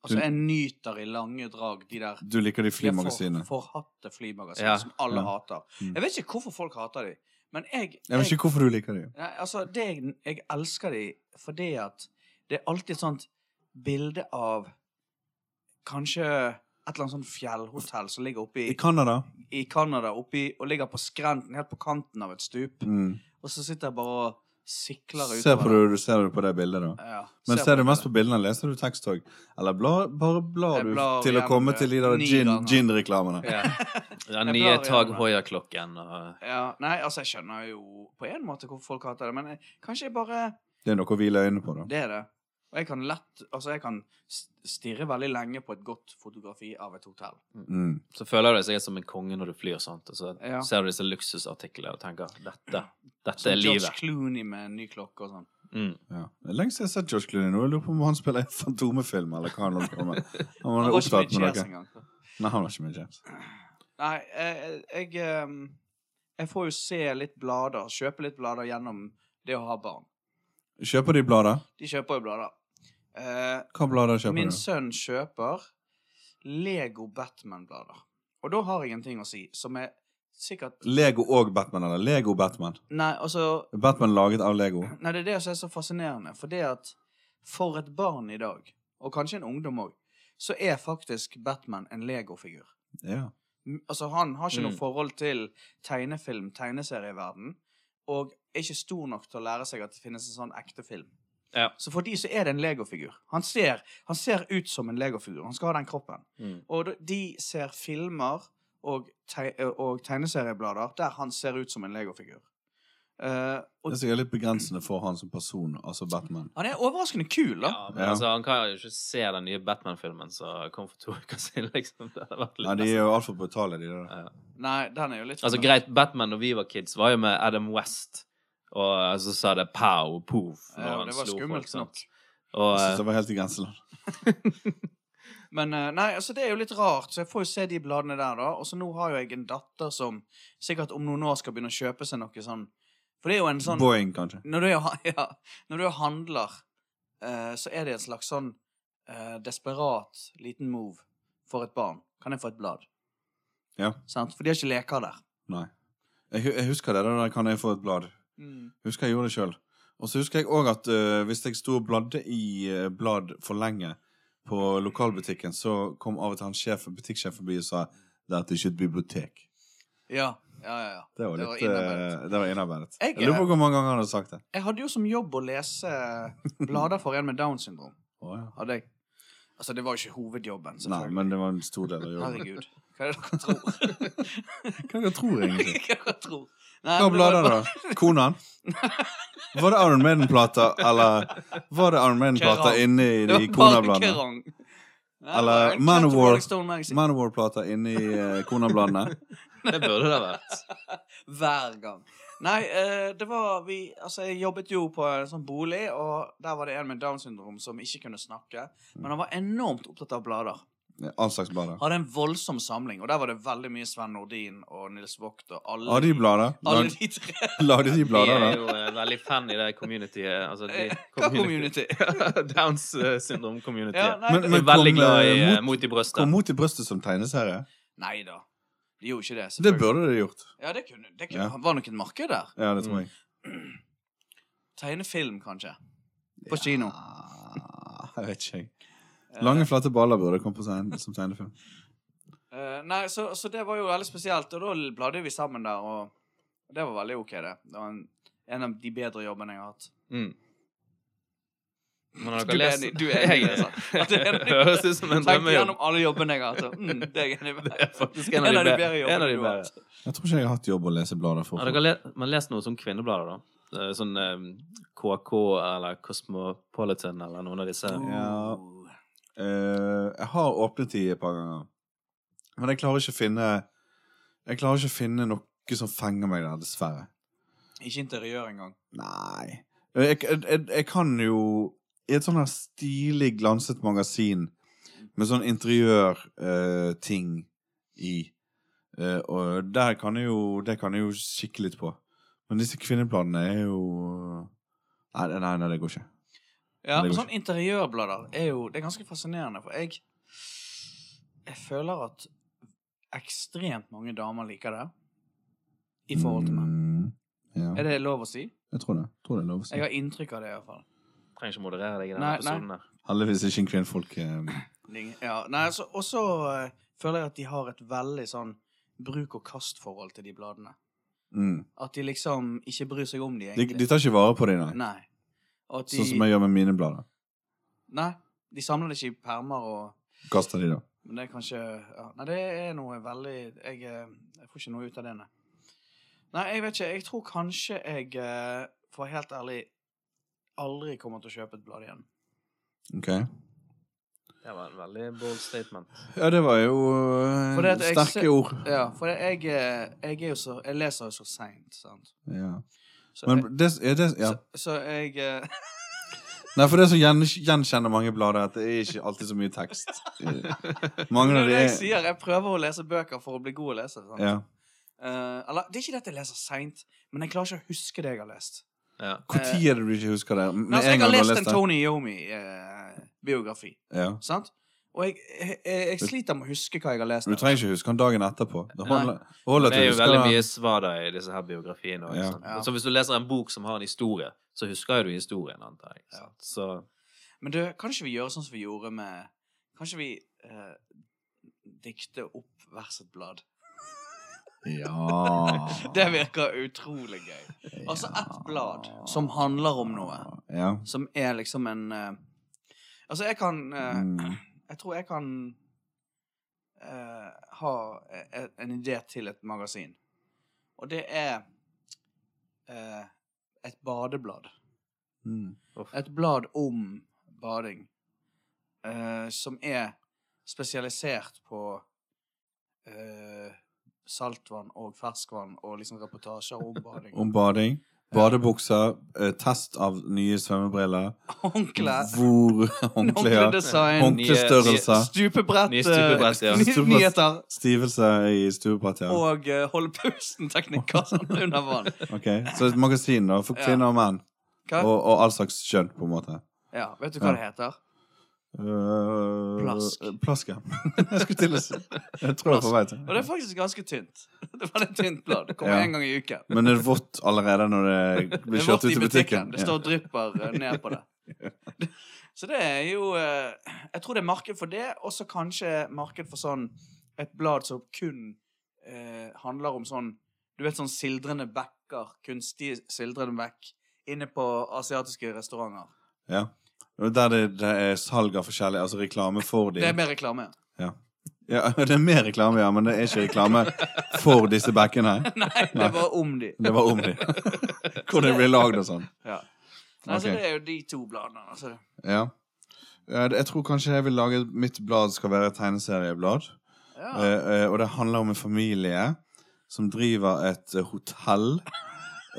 S1: Altså,
S2: Du-
S1: jeg nyter i lange drag de der
S2: Du liker de flymagasinene.
S1: for- Forhatte flymagasinene
S3: Ja.
S1: som alle
S2: Ja.
S1: hater.
S2: Mm.
S1: Jeg vet ikke hvorfor folk hater de, men jeg,
S2: Jeg vet ikke hvorfor du liker de.
S1: Nei, altså, det jeg, jeg elsker de fordi at det er alltid et sånt bilde av kanskje et eller annet sånt fjellhotell som ligger oppe i,
S2: I Canada
S1: i Canada, oppe i, og ligger på skrenten, helt på kanten av et stup.
S2: mm.
S1: Og så sitter jeg bare og sikler utover.
S2: ser, på det, du ser det på det bildet, da.
S1: Ja,
S2: Men ser du mest på bildene, leser du tekst òg? Eller bla, bare blar
S1: Jeg
S2: du
S1: blar
S2: til å
S1: igjen,
S2: komme
S1: eh,
S2: til de der
S1: ni
S2: gin-
S1: ganger.
S2: gin-reklamene?
S3: Den
S1: Jeg
S3: nye
S1: blar gjennom
S3: Tag
S1: det.
S3: Hoier-klokken og
S1: Ja, nei, altså, jeg skjønner jo på en måte hvorfor folk hater det, men jeg, kanskje jeg bare
S2: Det er noe å hvile øynene på, da.
S1: Det er det. Og jeg kan lett Altså, jeg kan s- stirre veldig lenge på et godt fotografi av et hotell.
S2: Mm.
S3: Så føler du deg sikkert som en konge når du flyr sånt, og så
S1: Ja.
S3: ser du disse luksusartiklene og tenker dette, dette
S1: Som
S3: er
S1: George
S3: livet.
S1: Clooney med en ny klokke og sånn.
S3: Mm.
S2: Ja. Det er lenge siden jeg har sett Josh Clooney nå. Jeg lurer på om han spiller en Fantomefilm, eller hva han holder på med. Han
S1: Han
S2: var
S1: var ikke med
S2: opptatt
S1: i
S2: med
S1: Cheers
S2: noe.
S1: engang.
S2: Nei, han var ikke med i James.
S1: Nei, jeg, jeg, jeg ehm, Jeg får jo se litt blader, kjøpe litt blader gjennom det å ha barn.
S2: Kjøper de blader?
S1: De kjøper jo blader. Eh,
S2: Hva blader kjøper
S1: min
S2: du?
S1: sønn kjøper Lego Batman-blader. Og da har jeg en ting å si som er sikkert
S2: Lego og Batman, eller Lego Batman?
S1: Nei, altså
S2: Batman laget av Lego.
S1: Nei, det er det som er så fascinerende. For det at for et barn i dag, og kanskje en ungdom òg, så er faktisk Batman en Lego-figur.
S2: Ja.
S1: M- Altså, han har ikke
S3: Mm.
S1: noe forhold til tegnefilm, tegneserieverden, og er ikke stor nok til å lære seg at det finnes en sånn ekte film.
S3: Ja.
S1: Så for de så er det en Lego-figur. Han, ser- han ser ut som en Lego-figur. Han skal ha den kroppen.
S3: Mm.
S1: Og de- de ser filmer og, teg og tegneserieblader der han ser ut som en Lego-figur. Eh, og
S2: Det er sikkert litt begrensende for han som person, altså Batman.
S1: han er overraskende kul, da.
S3: Ja, men
S2: Ja.
S3: altså, han kan jo ikke se den nye Batman-filmen som kom for to uker siden, liksom. Det hadde vært litt
S2: Nei, de er jo altfor brutale, de der.
S3: Ja.
S1: Nei, den er jo litt sånn-
S3: Altså, greit, Batman når vi var kids, var jo med Adam West, og altså, så sa det pow og poof når
S1: Ja,
S3: han
S1: det var
S3: slo
S1: skummelt
S3: folk. Sant?
S1: nok.
S3: Og,
S2: Jeg synes
S3: eh,
S2: det var helt i grenseland.
S1: Men eh, nei, altså det er jo litt rart, så jeg får jo se de bladene der, da. Og så nå har jo jeg en datter som sikkert om noen år skal begynne å kjøpe seg noe sånn For det er jo en sånn
S2: Boeing, kanskje.
S1: Når du, er, ja, når du handler, eh, så er det en slags sånn eh, desperat liten move for et barn. Kan jeg få et blad?
S2: Ja.
S1: Sant? For de har ikke leker der.
S2: Nei. Jeg, hu- jeg husker det, det der kan jeg få et blad. Husker jeg gjorde det sjøl. Og så husker jeg òg at øh, hvis jeg sto og bladde i øh, blad for lenge på lokalbutikken, så kom av og til han sjef, butikksjef forbi og sa Dette er ikke et bibliotek.
S1: Ja, ja, ja. ja.
S2: Det var
S1: Det
S2: litt
S1: var
S2: øh,
S1: innarbeidet.
S2: Det var innarbeidet.
S1: Jeg
S2: Jeg, lurer på hvor mange ganger han har sagt det.
S1: Jeg hadde jo som jobb å lese blader for en med Downs syndrom.
S2: Å, ja.
S1: Hadde jeg. Altså, det var jo ikke hovedjobben,
S2: Nei,
S1: selvfølgelig.
S2: men det var en stor del av jobben.
S1: Herregud. Hva er det dere tror?
S2: Hva dere tror egentlig?
S1: Hva er det dere tror? Nei,
S2: Hva
S1: men det var-
S2: blader, da? Konan? Var det Iron Maiden-plater, eller var det Iron Maiden-plater
S1: Kerrang.
S2: inni de
S1: Det var bare
S2: Kona-bladene?
S1: Kerrang. Nei,
S2: Eller
S1: det var en
S2: Man
S1: Cat
S2: of War.
S1: Rolling Stone Magazine.
S2: Manowar-plater inni eh, Kona-bladene?
S3: det burde det vært.
S1: Hver gang. Nei, eh, det var vi Altså, jeg jobbet jo på en sånn bolig, og der var det en med Downs syndrom som ikke kunne snakke. Men han var enormt opptatt av blader.
S2: All slags blader.
S1: Hadde en voldsom samling, og der var det veldig mye Sven Nordin og Nils Vogt og alle,
S2: Har de blader?
S1: alle
S2: Lag-
S1: de tre.
S2: Lagde de
S3: Vi
S2: blader,
S3: er
S2: da?
S3: jo eh, veldig fan i det communityet. Altså, de
S1: Eh, Hva community?
S3: Downs eh, syndrom-communityet.
S1: Ja, nei,
S2: Men-
S1: det-
S3: Vi er veldig
S2: kom,
S3: glad i
S2: eh,
S3: eh,
S2: mot-
S3: mot i brøstet.
S2: Kom mot i brøstet som tegneserie.
S1: Nei da. De gjorde ikke det.
S2: Det
S1: selvfølgelig.
S2: burde de gjort.
S1: Ja, det kunne, det kunne,
S2: Ja.
S1: var nok et marked der.
S2: Ja, det tror jeg.
S1: Tegnefilm, kanskje. På kino.
S2: Ah, jeg vet ikke, jeg. Lange, flate baller burde komme på scenen som tegnefilm.
S1: Eh, nei, så, så det var jo veldig spesielt, og da bladde vi sammen der, og det var veldig ok, det. Det var en, en av de bedre jobbene jeg har hatt.
S3: Mm. Men har
S1: Du
S3: dere
S1: er
S3: lest
S1: enig, du er enig,
S3: Jeg-
S1: altså. At det er enig.
S3: høres ut som en
S1: Tenk
S3: drømmejobb.
S1: gjennom alle jobbene jeg har hatt. og, Mm, det er jeg enig med.
S3: Faktisk en av de bedre. En av de
S1: du har
S3: bedre.
S1: hatt.
S2: Jeg tror ikke jeg har hatt jobb å lese blader for.
S3: Har dere le men lest noe som kvinneblader, da? Eh, Sånn eh, KK eller Cosmopolitan eller noen av disse?
S2: Ja. Eh, jeg har åpnet de et par ganger. Men jeg klarer ikke å finne Jeg klarer ikke å finne noe som fenger meg der, dessverre.
S1: Ikke interiør engang.
S2: Nei. Eh, Jeg, jeg, jeg, jeg kan jo I et sånn her stilig, glanset magasin med sånn interiørting i eh, Og der kan jeg jo Det kan jeg jo kikke litt på. Men disse kvinneplanene er jo Nei, nei, nei, det går ikke.
S1: Ja,
S2: Det
S1: men
S2: går
S1: sånn interiørblader er jo Det er ganske fascinerende, for jeg Jeg føler at ekstremt mange damer liker det i forhold til menn.
S2: Mm, ja.
S1: Er det lov å si?
S2: Jeg tror det. Jeg tror det er lov å si.
S1: Jeg har inntrykk av det, i hvert fall.
S3: Trenger ikke moderere deg i denne
S1: Nei, nei.
S3: episoden. her
S2: Heldigvis ikke en kvinnfolk. eh,
S1: Ling- Ja, nei, altså, Og så eh, føler jeg at de har et veldig sånn bruk-og-kast-forhold til de bladene.
S2: Mm.
S1: At de liksom ikke bryr seg om de,
S2: De,
S1: egentlig.
S2: de tar ikke vare på det, nei.
S1: Nei. Og at de,
S2: Sånn som jeg gjør med mine blader.
S1: Nei, de samler det ikke i permer og
S2: Kaster de, da.
S1: Men det er kanskje ja. Nei, det er noe veldig jeg, eh, jeg får ikke noe ut av det, nei. Nei, jeg vet ikke. Jeg tror kanskje jeg, eh, for å være helt ærlig, aldri kommer til å kjøpe et blad igjen.
S2: Ok.
S3: Det var en veldig bold statement.
S2: Ja, det var jo eh,
S1: For det at jeg
S2: sterke
S1: ser-
S2: ord.
S1: Ja, for det, jeg, eh, jeg er jo så Jeg leser jo så seint, sant.
S2: Ja.
S1: Så,
S2: Men
S1: jeg,
S2: det, er det ja.
S1: så, så jeg eh,
S2: Nei, for det som gjen, gjenkjenner mange blader, er at det er ikke alltid så mye tekst. Eh, Mange
S1: Det
S2: av
S1: er
S2: de
S1: det jeg
S2: er
S1: sier. Jeg prøver å lese bøker for å bli god å lese. sant?
S2: ja.
S1: Eh, eller, det er ikke det at jeg leser seint, men jeg klarer ikke å huske det jeg har lest.
S3: Ja.
S2: Når er det du ikke husker det? Med
S1: Men altså, Eh, jeg
S2: en
S1: har
S2: gang du har
S1: lest
S2: lest
S1: en
S2: det?
S1: Tony Yomi-biografi.
S2: Ja.
S1: Sant? Og jeg, jeg, jeg sliter med å huske hva jeg har lest.
S2: Du trenger ikke huske den dagen etterpå. Det holder,
S3: Det
S2: holder til å
S3: er jo
S2: huske
S3: veldig
S2: den.
S3: mye svada i disse her biografiene. også,
S2: Ja.
S3: sant?
S1: Ja.
S3: Så hvis du leser en bok som har en historie, så husker jo du historien, antar jeg.
S1: Ja.
S3: sant? Så
S1: Men du, kan ikke vi gjøre sånn som vi gjorde med Kan ikke vi eh, dikte opp vers et blad?
S2: Ja.
S1: Det virker utrolig gøy. Altså ett blad som handler om noe.
S2: Ja.
S1: Som er liksom en eh, Altså, jeg kan eh,
S2: Mm.
S1: Jeg tror jeg kan eh, ha e- en idé til et magasin. Og det er eh, et badeblad.
S2: Mm.
S1: et blad om bading eh, som er spesialisert på eh, saltvann og ferskvann og liksom reportasjer om bading.
S2: Om bading. Badebukser. eh, Test av nye svømmebriller.
S1: Håndkle,
S2: Hvor håndklær.
S1: håndkledesign,
S2: Håndklestørrelser.
S1: stupebrett,
S3: Nye stupebrett, ja.
S1: eh, ny-
S2: Stupebrett.
S1: nyheter
S2: Stivelse i stuepatja.
S1: og eh, holde pusten-teknikker sånn under vann.
S2: Ok, Så et magasin da, for
S1: Ja.
S2: kvinner og menn.
S1: Hva?
S2: Og, og all slags kjønn, på en måte.
S1: Ja, vet du hva det heter?
S2: Øh,
S1: Plask.
S2: Plask, ja. jeg skulle til å si Jeg tror jeg er på vei til
S1: Og det er faktisk ganske tynt. Det var et tynt blad. Det
S2: Ja.
S1: kommer én gang i uken.
S2: Men er det vått allerede når det
S1: Det
S2: blir
S1: er
S2: kjørt
S1: vått
S2: ut i butikken?
S1: Det står og drypper eh, ned på det. Så det er jo eh, Jeg tror det er marked for det, og så kanskje marked for sånn et blad som kun eh, handler om sånn Du vet sånn sildrende bekker, kunstig sildrende bekk, inne på asiatiske restauranter.
S2: Ja. Ja. Der det, det er salg av forskjellig Altså reklame for de
S1: Det er mer reklame.
S2: Ja, det er mer reklame, ja, men det er ikke reklame for disse bekkene her.
S1: Nei, det var om de.
S2: Det var om de. Hvor de ble lagd og sånn.
S1: Ja. Nei, Så
S2: Ok.
S1: Altså, det er jo de to bladene. Altså.
S2: Ja. Eh, Jeg tror kanskje jeg vil lage mitt blad skal være et tegneserieblad.
S1: Ja.
S2: Eh, eh, og det handler om en familie som driver et eh, hotell.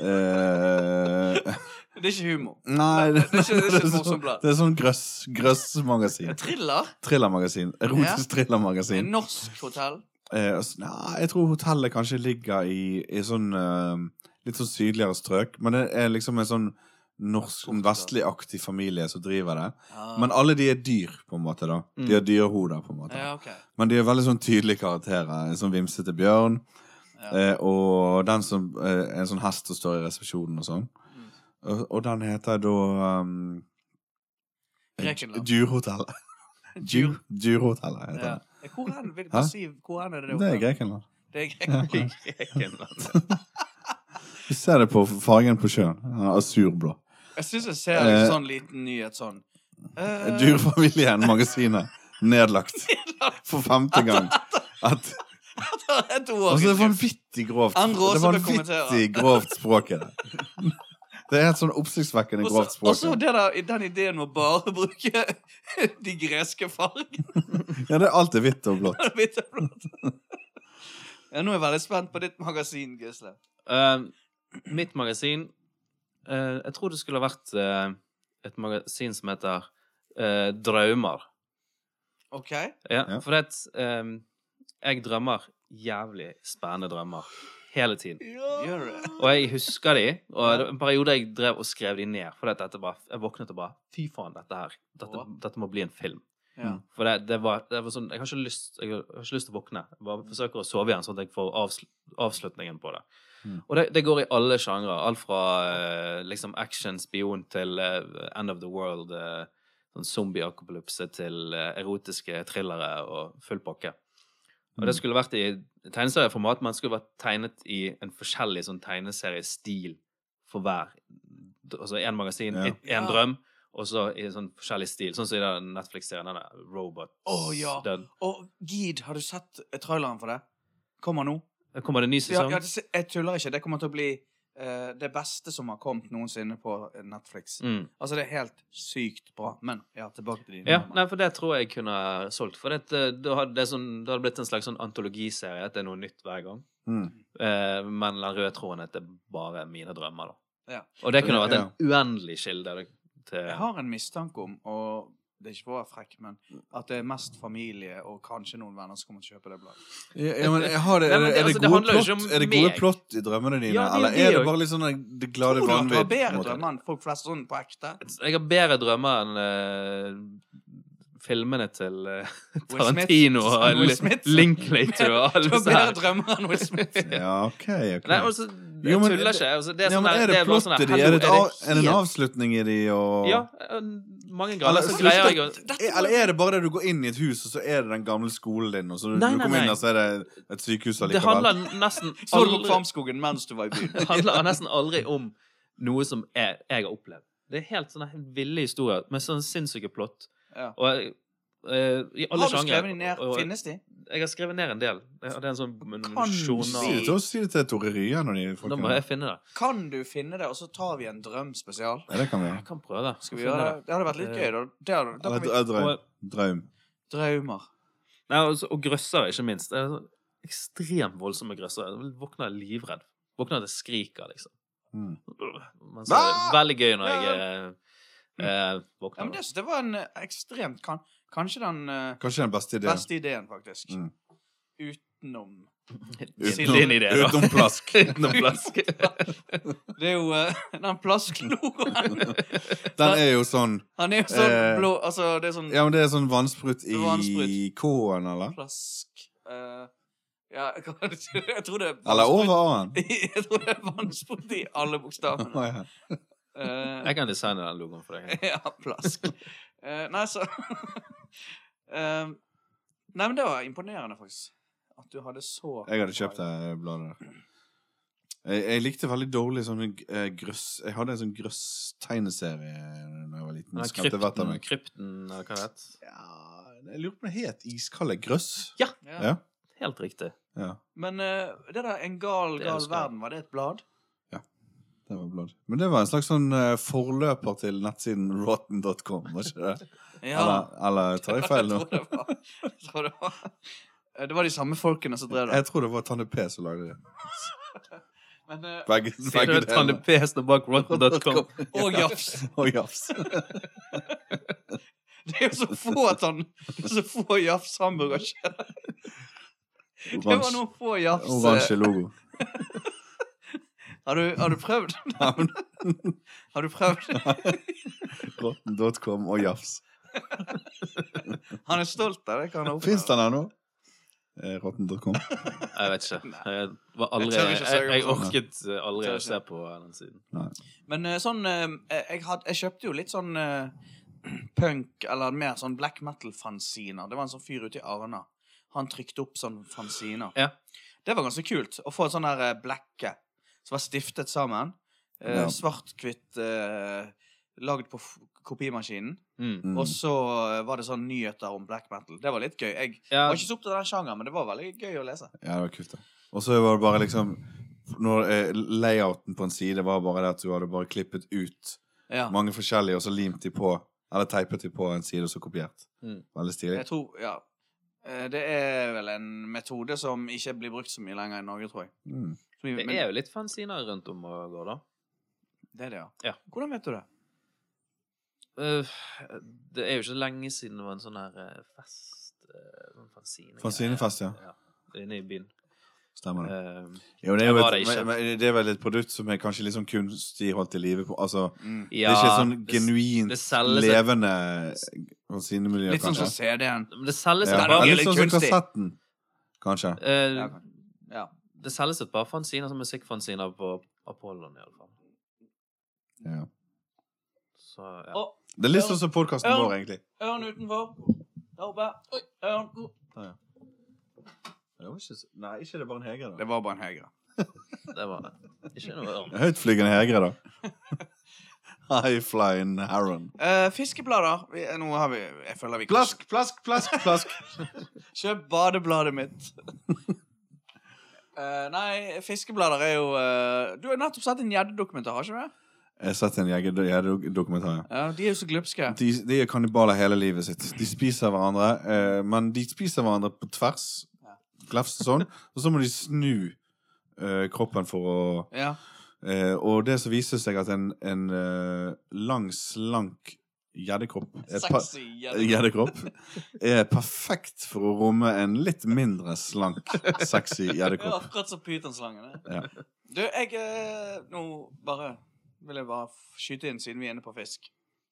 S2: Eh,
S1: Det er ikke humor.
S2: nei, det,
S1: Det er ikke- det er ikke et
S2: sånn-
S1: morsomt blad.
S2: Det er sånn grøss, grøssmagasin.
S1: Thriller?
S2: Thrillermagasin. Erotisk thrillermagasin.
S1: En norsk hotell?
S2: Eh, altså, nei, jeg tror hotellet kanskje ligger i, i sånn eh, litt sånn sydligere strøk. Men det er liksom en sånn norsk, en vestligaktig familie som driver det.
S1: Ja.
S2: Men alle de er dyr, på en måte. da
S3: Mm.
S2: De har dyrehoder, på en måte.
S1: ja, ok.
S2: Men de er veldig sånn tydelige karakterer. En sånn vimsete bjørn.
S1: Ja.
S2: Eh, og den som eh, En sånn hest som står i resepsjonen og sånn.
S1: Mm.
S2: Og, og den heter da um,
S1: Grekenland.
S2: Dyrhotellet. Dyr- Dyrhotellet heter
S1: Ja.
S2: det.
S1: Hvor hen, vil
S2: Hæ?
S1: du si, hvor hen er det?
S2: Det er
S1: oppe?
S2: Grekenland.
S1: Det er grek.
S2: Du ser det på fargen på sjøen. Den er Asurblå. Eh.
S1: Jeg syns jeg ser en sånn liten nyhet sånn. Eh,
S2: Dyrefamilien-magasinet nedlagt for femte gang. At,
S1: etter et år.
S2: altså, det er vanvittig grovt.
S1: Andre også
S2: Det er
S1: bør kommentere.
S2: vanvittig grovt språk i det. Det er et sånn oppsiktsvekkende
S1: Også-
S2: grovt språk.
S1: Også det der, den ideen med å bare bruke de greske fargene.
S2: Ja, det er alt er hvitt og blått.
S1: Hvitt og blått. Ja, nå er jeg veldig spent på ditt magasin, Gisle.
S3: Eh, mitt magasin eh, Jeg tror det skulle ha vært eh, et magasin som heter eh, Drømmer.
S1: OK?
S3: Ja,
S2: Ja.
S3: For det eh, Jeg drømmer jævlig spennende drømmer hele tiden.
S1: Gjør det.
S3: Og jeg husker de, og det var en periode jeg drev og skrev de ned. For at dette bare, jeg våknet og bare Fy faen, dette her. Dette,
S1: Åh.
S3: dette må bli en film.
S1: Ja.
S3: For det, det, var, det var sånn Jeg har ikke lyst Jeg har ikke lyst til å våkne. Jeg bare forsøker å sove igjen, sånn at jeg får avsl avslutningen på det.
S2: Mm.
S3: Og det, det går i alle sjangre. Alt fra eh, liksom action, spion til eh, end of the world, eh, sånn zombie-akopalypse til eh, erotiske thrillere og full pakke. Og det
S2: Mm.
S3: skulle vært i tegneserieformat, men det skulle vært tegnet i en forskjellig sånn tegneseriestil for hver. Altså én magasin,
S2: Ja.
S3: én
S1: Ja.
S3: drøm, og så i en sånn forskjellig stil. Sånn som i den Netflix-serien, den der Robot
S1: Å, ja.
S3: den.
S1: Og Gid, har du sett eh, traileren for det? Kommer nå?
S3: Der Kommer det en ny
S1: Ja,
S3: sesong?
S1: ja, det, jeg tuller ikke. Det kommer til å bli eh, det beste som har kommet noensinne på Netflix.
S3: Mm.
S1: Altså, det er helt sykt bra. Men ja, tilbake til dine.
S3: ja
S2: Mm.
S1: drømmer.
S3: nei, for det tror jeg kunne ha solgt. For det, det, det, hadde, det, er sånn, det hadde blitt en slags sånn antologiserie, at det er noe nytt hver gang.
S2: Mm.
S3: Eh, men den røde tråden er at det er bare mine drømmer, da.
S1: Ja.
S3: Og det kunne ha vært en uendelig kilde til
S1: Jeg har en mistanke om, og det er ikke for å være frekk, men at det er mest familie og kanskje noen venner som kommer til å kjøpe det bladet.
S2: Ja, ja, men jeg har det.
S3: Nei,
S2: Er
S3: men
S2: det, er
S3: det-
S2: det
S3: altså, det
S2: gode
S3: handler jo ikke
S2: plott-
S3: om
S2: er det gode
S3: meg.
S2: plott i drømmene dine,
S3: Ja, det er
S2: eller
S3: det
S2: er det
S3: jo.
S2: bare litt sånn eh, det glade
S1: Tror du at du har
S2: vanvidd? på en
S1: bedre
S2: måte?
S1: drømmer enn folk flest sånn på ekte?
S3: Jeg har bedre drømmer enn eh, filmene til eh,
S1: Smith.
S3: Tarantino og
S1: Sam Will
S3: Li-
S1: Smith.
S3: Linklater og alle
S1: Du har
S3: disse her.
S1: bedre drømmer enn Will Smith.
S2: Ja, ok. ok.
S3: Nei, altså, jeg
S2: Jo, men
S3: tuller
S2: det-
S3: ikke. Altså, det er
S2: ja,
S3: sånn
S2: men
S3: her-
S2: er det,
S3: det er bare sånn
S2: plottet
S3: her,
S2: de? Er
S3: hallo,
S2: det, et av, er det en
S3: helt-
S2: avslutning i de? Og...
S3: Ja, eh, mange ganger
S2: Eller-
S3: så
S2: så
S3: greier
S2: slutt-
S3: jeg å
S2: Er- Eller er det bare det du går inn i et hus, og så er det den gamle skolen din, og så du,
S3: Nei,
S2: du
S3: nei,
S2: kommer
S3: nei.
S2: inn, og så er det et sykehus
S3: Det
S2: allikevel?
S3: handler nesten
S1: Så du på
S3: aldri,
S1: Kvamskogen mens du var i byen?
S3: det handler nesten aldri om noe som jeg, jeg har opplevd. Det er helt sånn sånne helt ville historier med sånn sinnssyke plott.
S1: Ja.
S3: Og eh, i alle
S1: Har du
S3: sjangre.
S1: skrevet dem ned?
S3: og-
S1: Finnes de?
S3: Jeg har skrevet ned en del. Jeg hadde en sånn
S2: Si det
S3: nominasjon.
S2: til oss, si det til Tore Rye når de
S3: og- Da må
S2: folkene
S3: jeg finne det.
S1: Kan du finne det, og så tar vi en drøm spesial?
S2: Ja, det kan vi.
S3: Jeg kan prøve.
S1: Skal vi gjøre det? Det hadde vært litt gøy. Da, Det hadde- da
S2: Eller
S1: kan vi...
S2: dra- drøm.
S3: Og,
S2: Drøm.
S1: Drømmer.
S3: nei, altså, og grøssere, ikke minst. Det er så ekstremt voldsomme grøssere. Jeg våkner livredd. Våkner at jeg skriker, liksom.
S2: Mm.
S3: Men så er det veldig gøy når jeg eh, eh,
S1: Ja,
S3: våkner.
S1: men det, det var en eh, ekstremt kan, Kanskje den eh,
S2: Kanskje den beste ideen.
S1: beste ideen, faktisk.
S2: Mm.
S1: Utenom
S3: Din, din idé, da.
S2: utenom plask.
S3: Utenom plask.
S1: Det er jo eh, den plasklogoen.
S2: Den er jo sånn
S1: Han er jo sånn
S2: Eh,
S1: blå Altså, det er sånn
S2: Ja, men det er sånn vannsprut i
S1: Vannsprut.
S2: K-en, eller?
S1: plask eh, Ja, jeg kan ikke Jeg tror det er
S2: Eller
S1: vannsprut-
S2: over A-en.
S1: Jeg tror det er vannsprut i alle bokstavene.
S2: Å, ja.
S1: Eh,
S3: Jeg kan designe den logoen for deg.
S1: ja, plask. Eh, nei, så Eh, Nei, men det var imponerende, faktisk. At du hadde så
S2: Jeg hadde kjøpt det bladet der. Jeg, jeg likte veldig dårlig sånne eh, grøss Jeg hadde en sånn grøss-tegneserie da jeg var liten.
S3: Den er
S2: Skremte vettet av
S3: krypten,
S2: meg.
S3: krypten, eller hva det heter.
S2: Ja, jeg lurer på om det het Iskalde grøss.
S1: Ja.
S2: Ja.
S3: Helt riktig.
S2: Ja,
S1: Men eh, det der En gal,
S3: Det
S1: gal
S3: husker jeg.
S1: verden, var det et blad?
S2: det var blad. Men det var en slags sånn eh, forløper til nettsiden rotten.com, var ikke det? Eller, eller tar jeg feil nå?
S1: Jeg tror det var. Jeg tror det var. Eh, Det var de samme folkene som drev det.
S2: Jeg tror det var Tanne P som lagde det.
S1: Men, eh,
S2: Begge,
S3: Ser du
S2: begge
S3: at Tanne P står bak rotten.com?
S1: og Jafs.
S2: Og jafs.
S1: Det er jo så få at han Det er så få Jafs hamburgerkjeder. Det var
S2: Oransje-
S1: noen få Jafs. eh,
S2: Oransje logo.
S1: Har du, har du prøvd?
S2: Ja, men
S1: Har du prøvd?
S2: Rotten.com og Jafs.
S1: Han er stolt av det. kan han
S2: Fins den ennå? Eh, Rotten.com.
S3: Jeg vet ikke.
S1: Nei.
S3: Jeg, var aldri,
S1: Jeg tør ikke å
S3: jeg, jeg,
S1: søke på
S2: sånn.
S3: orket eh, aldri
S1: Tør
S3: å
S1: ikke.
S3: se på den siden.
S1: Men eh, sånn eh, jeg, had, jeg kjøpte jo litt sånn eh, punk, eller mer sånn black metal-fanziner. Det var en sånn fyr ute i Arna. Han trykte opp sånn fanziner.
S3: Ja.
S1: Det var ganske kult å få en sånn der eh, blekke som var stiftet sammen. Eh,
S2: Ja.
S1: Svart-hvitt eh, lagd på f kopimaskinen.
S3: Mm.
S2: Mm.
S1: Og så eh, var det sånn nyheter om black metal. Det var litt gøy. Jeg
S3: Ja,
S1: var ikke så opptatt av den sjangeren, men det var veldig gøy å lese.
S2: Ja, det var kult, da. Og så var det bare liksom når, eh, Layouten på en side var bare det at du hadde bare klippet ut
S1: Ja.
S2: mange forskjellige, og så limt de på Eller teipet de på en side, og så kopiert.
S3: Mm.
S2: Veldig stilig.
S1: Jeg tror, ja. Eh, Det er vel en metode som ikke blir brukt så mye lenger i Norge, tror jeg.
S2: Mm.
S1: Som,
S3: det
S1: men,
S3: er jo litt fanziner rundt om og går, da.
S1: det er det, ja.
S3: Ja.
S1: Hvordan vet du det?
S3: Eh, det er jo ikke lenge siden det var en sånn her eh, fest eh, sånn fanzine.
S2: Fanzinefest, ja. Mm.
S3: Inne i byen.
S2: Stemmer det.
S3: Eh,
S2: Jo, det, er
S3: Jeg
S2: jo
S3: var
S2: et,
S3: det ikke.
S2: men, men det er vel et produkt som er kanskje litt sånn kunstig holdt i live på Altså,
S1: Mm.
S2: det er ikke et
S3: ja,
S2: sånn
S3: det s-
S2: genuint
S3: det selges-
S2: levende eh, vasinemiljø,
S1: Litt sånn
S2: kanskje.
S1: som CD-en.
S3: Men det selges
S2: ja.
S3: et
S1: det
S3: par
S1: er
S2: Litt
S1: litt
S2: sånn som
S1: kunstig.
S2: kassetten, kanskje.
S3: eh,
S1: Ja, kanskje. Ja.
S3: Det selges et par fanziner, som musikkfanziner, på Apollon, iallfall.
S2: Ja.
S3: Så ja.
S1: Og
S2: Det er litt sånn som podkasten
S1: Ja.
S2: vår, egentlig.
S1: ørn utenfor. Der oppe. Oi, ørn.
S2: Det var ikke, så- nei, ikke det var en heger,
S1: Det var bare en høyre.
S3: det var ikke noe annet.
S2: Høytflygende hegre, da. High flying heron.
S1: Eh, fiskeblader. Vi, eh, nå har vi Jeg føler vi kan
S2: Plask, plask, plask, plask.
S1: Kjøp badebladet mitt. Eh, nei, fiskeblader er jo eh, Du har nettopp sett en gjeddedokumentar, har ikke du? det?
S2: Jeg har sett en jeger- gjeddedokumentar. ja.
S1: Ja, de er jo så glupske.
S2: De, de er kannibaler hele livet sitt. De spiser hverandre, eh, men de spiser hverandre på tvers. Glefse sånn. Og så må de snu eh, kroppen for å
S1: Ja.
S2: eh, Og det som viser seg at en, en eh, lang, slank gjeddekropp er pa-
S1: Sexy gjedde.
S2: Gjeddekropp er perfekt for å romme en litt mindre slank, sexy
S1: Ja,
S2: gjeddekropp.
S1: akkurat som pytonslangen. det.
S2: Ja.
S1: Du, jeg eh, Nå bare vil jeg bare f- skyte inn, siden vi er inne på fisk.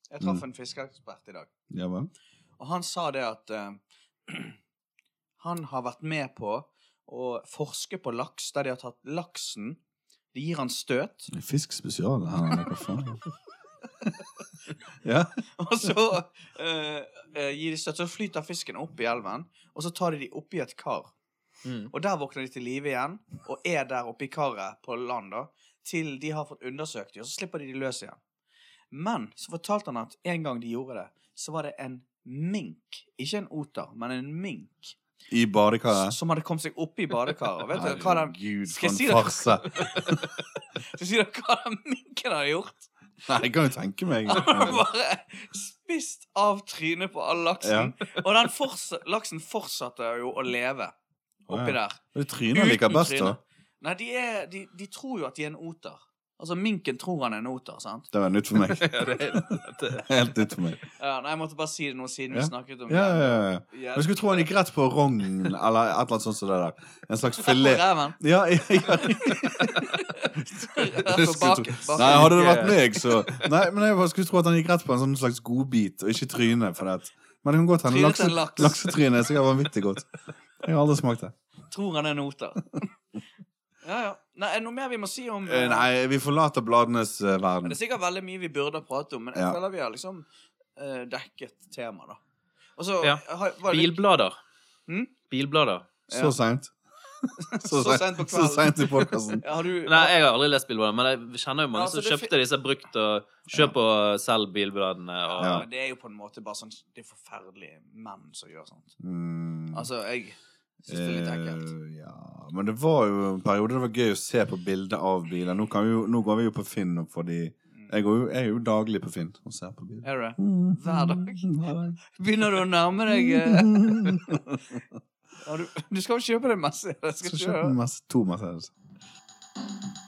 S1: Jeg traff
S2: Mm.
S1: en fiskeekspert i dag,
S2: Ja vel?
S1: og han sa det at eh, han har vært med på å forske på laks, der de har tatt laksen De gir han støt,
S2: Fisk spesial her, eller hva faen? Ja.
S1: og så eh, eh, gir de støt. Så flyter fisken opp i elven, og så tar de de oppi et kar.
S3: Mm.
S1: Og der våkner de til live igjen, og er der oppe i karet på land, da, til de har fått undersøkt dem, og så slipper de de løs igjen. Men så fortalte han at en gang de gjorde det, så var det en mink, ikke en oter, men en mink,
S2: I badekaret.
S1: som hadde kommet seg opp i badekaret. Og Vet dere hva den,
S2: Herregud,
S1: Skal jeg
S2: for en
S1: si det?
S2: farse.
S1: så sier dere hva den minken hadde gjort?
S2: Nei, jeg kan jo tenke meg.
S1: Han hadde bare spist av trynet på all laksen. Og den forts- laksen fortsatte jo å leve
S2: Å, ja.
S1: oppi der.
S2: Det tryner like
S1: Uten
S2: best, da.
S1: trynet. Nei, de, er, de, de tror jo at de er en oter. Altså, minken tror han er en oter, sant?
S2: Det var nytt for meg.
S3: Ja, det, det,
S2: Helt nytt for meg.
S1: Ja, nei, jeg måtte bare si det nå siden
S2: Ja.
S1: vi snakket om
S2: Ja, ja, ja.
S1: ja.
S2: Men Jeg skulle tro han gikk rett på rognen, eller et eller annet sånt som det der. En slags
S1: På
S2: filet.
S1: ræven.
S2: Ja, ja, ja.
S1: Rett
S2: Jeg
S1: på
S2: skulle
S1: bak,
S2: tro-
S1: bak.
S2: Nei, hadde det vært meg, så Nei, men jeg bare skulle tro at han gikk rett på en sånn slags godbit, og ikke trynet. For det. at- Men det kan godt hende
S1: Trynet til
S2: lakse,
S1: en laks.
S2: laksetryne er sikkert vanvittig godt. Jeg har aldri smakt det.
S1: Tror han er en oter. Ja, ja. Nei, er det noe mer vi må si om
S2: Eh, Nei, vi forlater bladenes eh, verden.
S1: Det er sikkert veldig mye vi burde ha pratet om, men jeg
S2: Ja.
S1: føler vi har liksom eh, dekket temaet, da. Og så
S3: Ja.
S1: har- var det litt-
S3: bilblader.
S1: Mm?
S3: Bilblader.
S1: Ja.
S2: Så seint.
S1: Så sent på
S2: Så
S1: kvelden.
S2: seint i podkasten.
S1: Ja, Har du
S3: Nei, jeg har aldri lest bilblader, men jeg kjenner jo mange
S1: Ja, altså, det
S3: som kjøpte disse brukt og kjøp og selg bilbladene og
S1: ja.
S2: Ja.
S1: men Det er jo på en måte bare sånn Det er forferdelige menn som gjør sånt.
S2: Mm,
S1: Altså, jeg syns det er litt ekkelt.
S2: eh, ja, men det var jo en periode det var gøy å se på bilder av biler. Nå, kan vi jo, nå går vi jo på Finn, og fordi jeg, går jo, jeg er jo daglig på Finn og ser på biler.
S1: Er det?
S2: Mm,
S1: Hver dag.
S2: mm, Hver dag.
S1: Begynner du å nærme deg eh, ja, du, du skal jo kjøpe deg masse. Jeg
S2: Skal
S1: skal
S2: kjøpe
S1: ikke
S2: en masse, to Mercedes.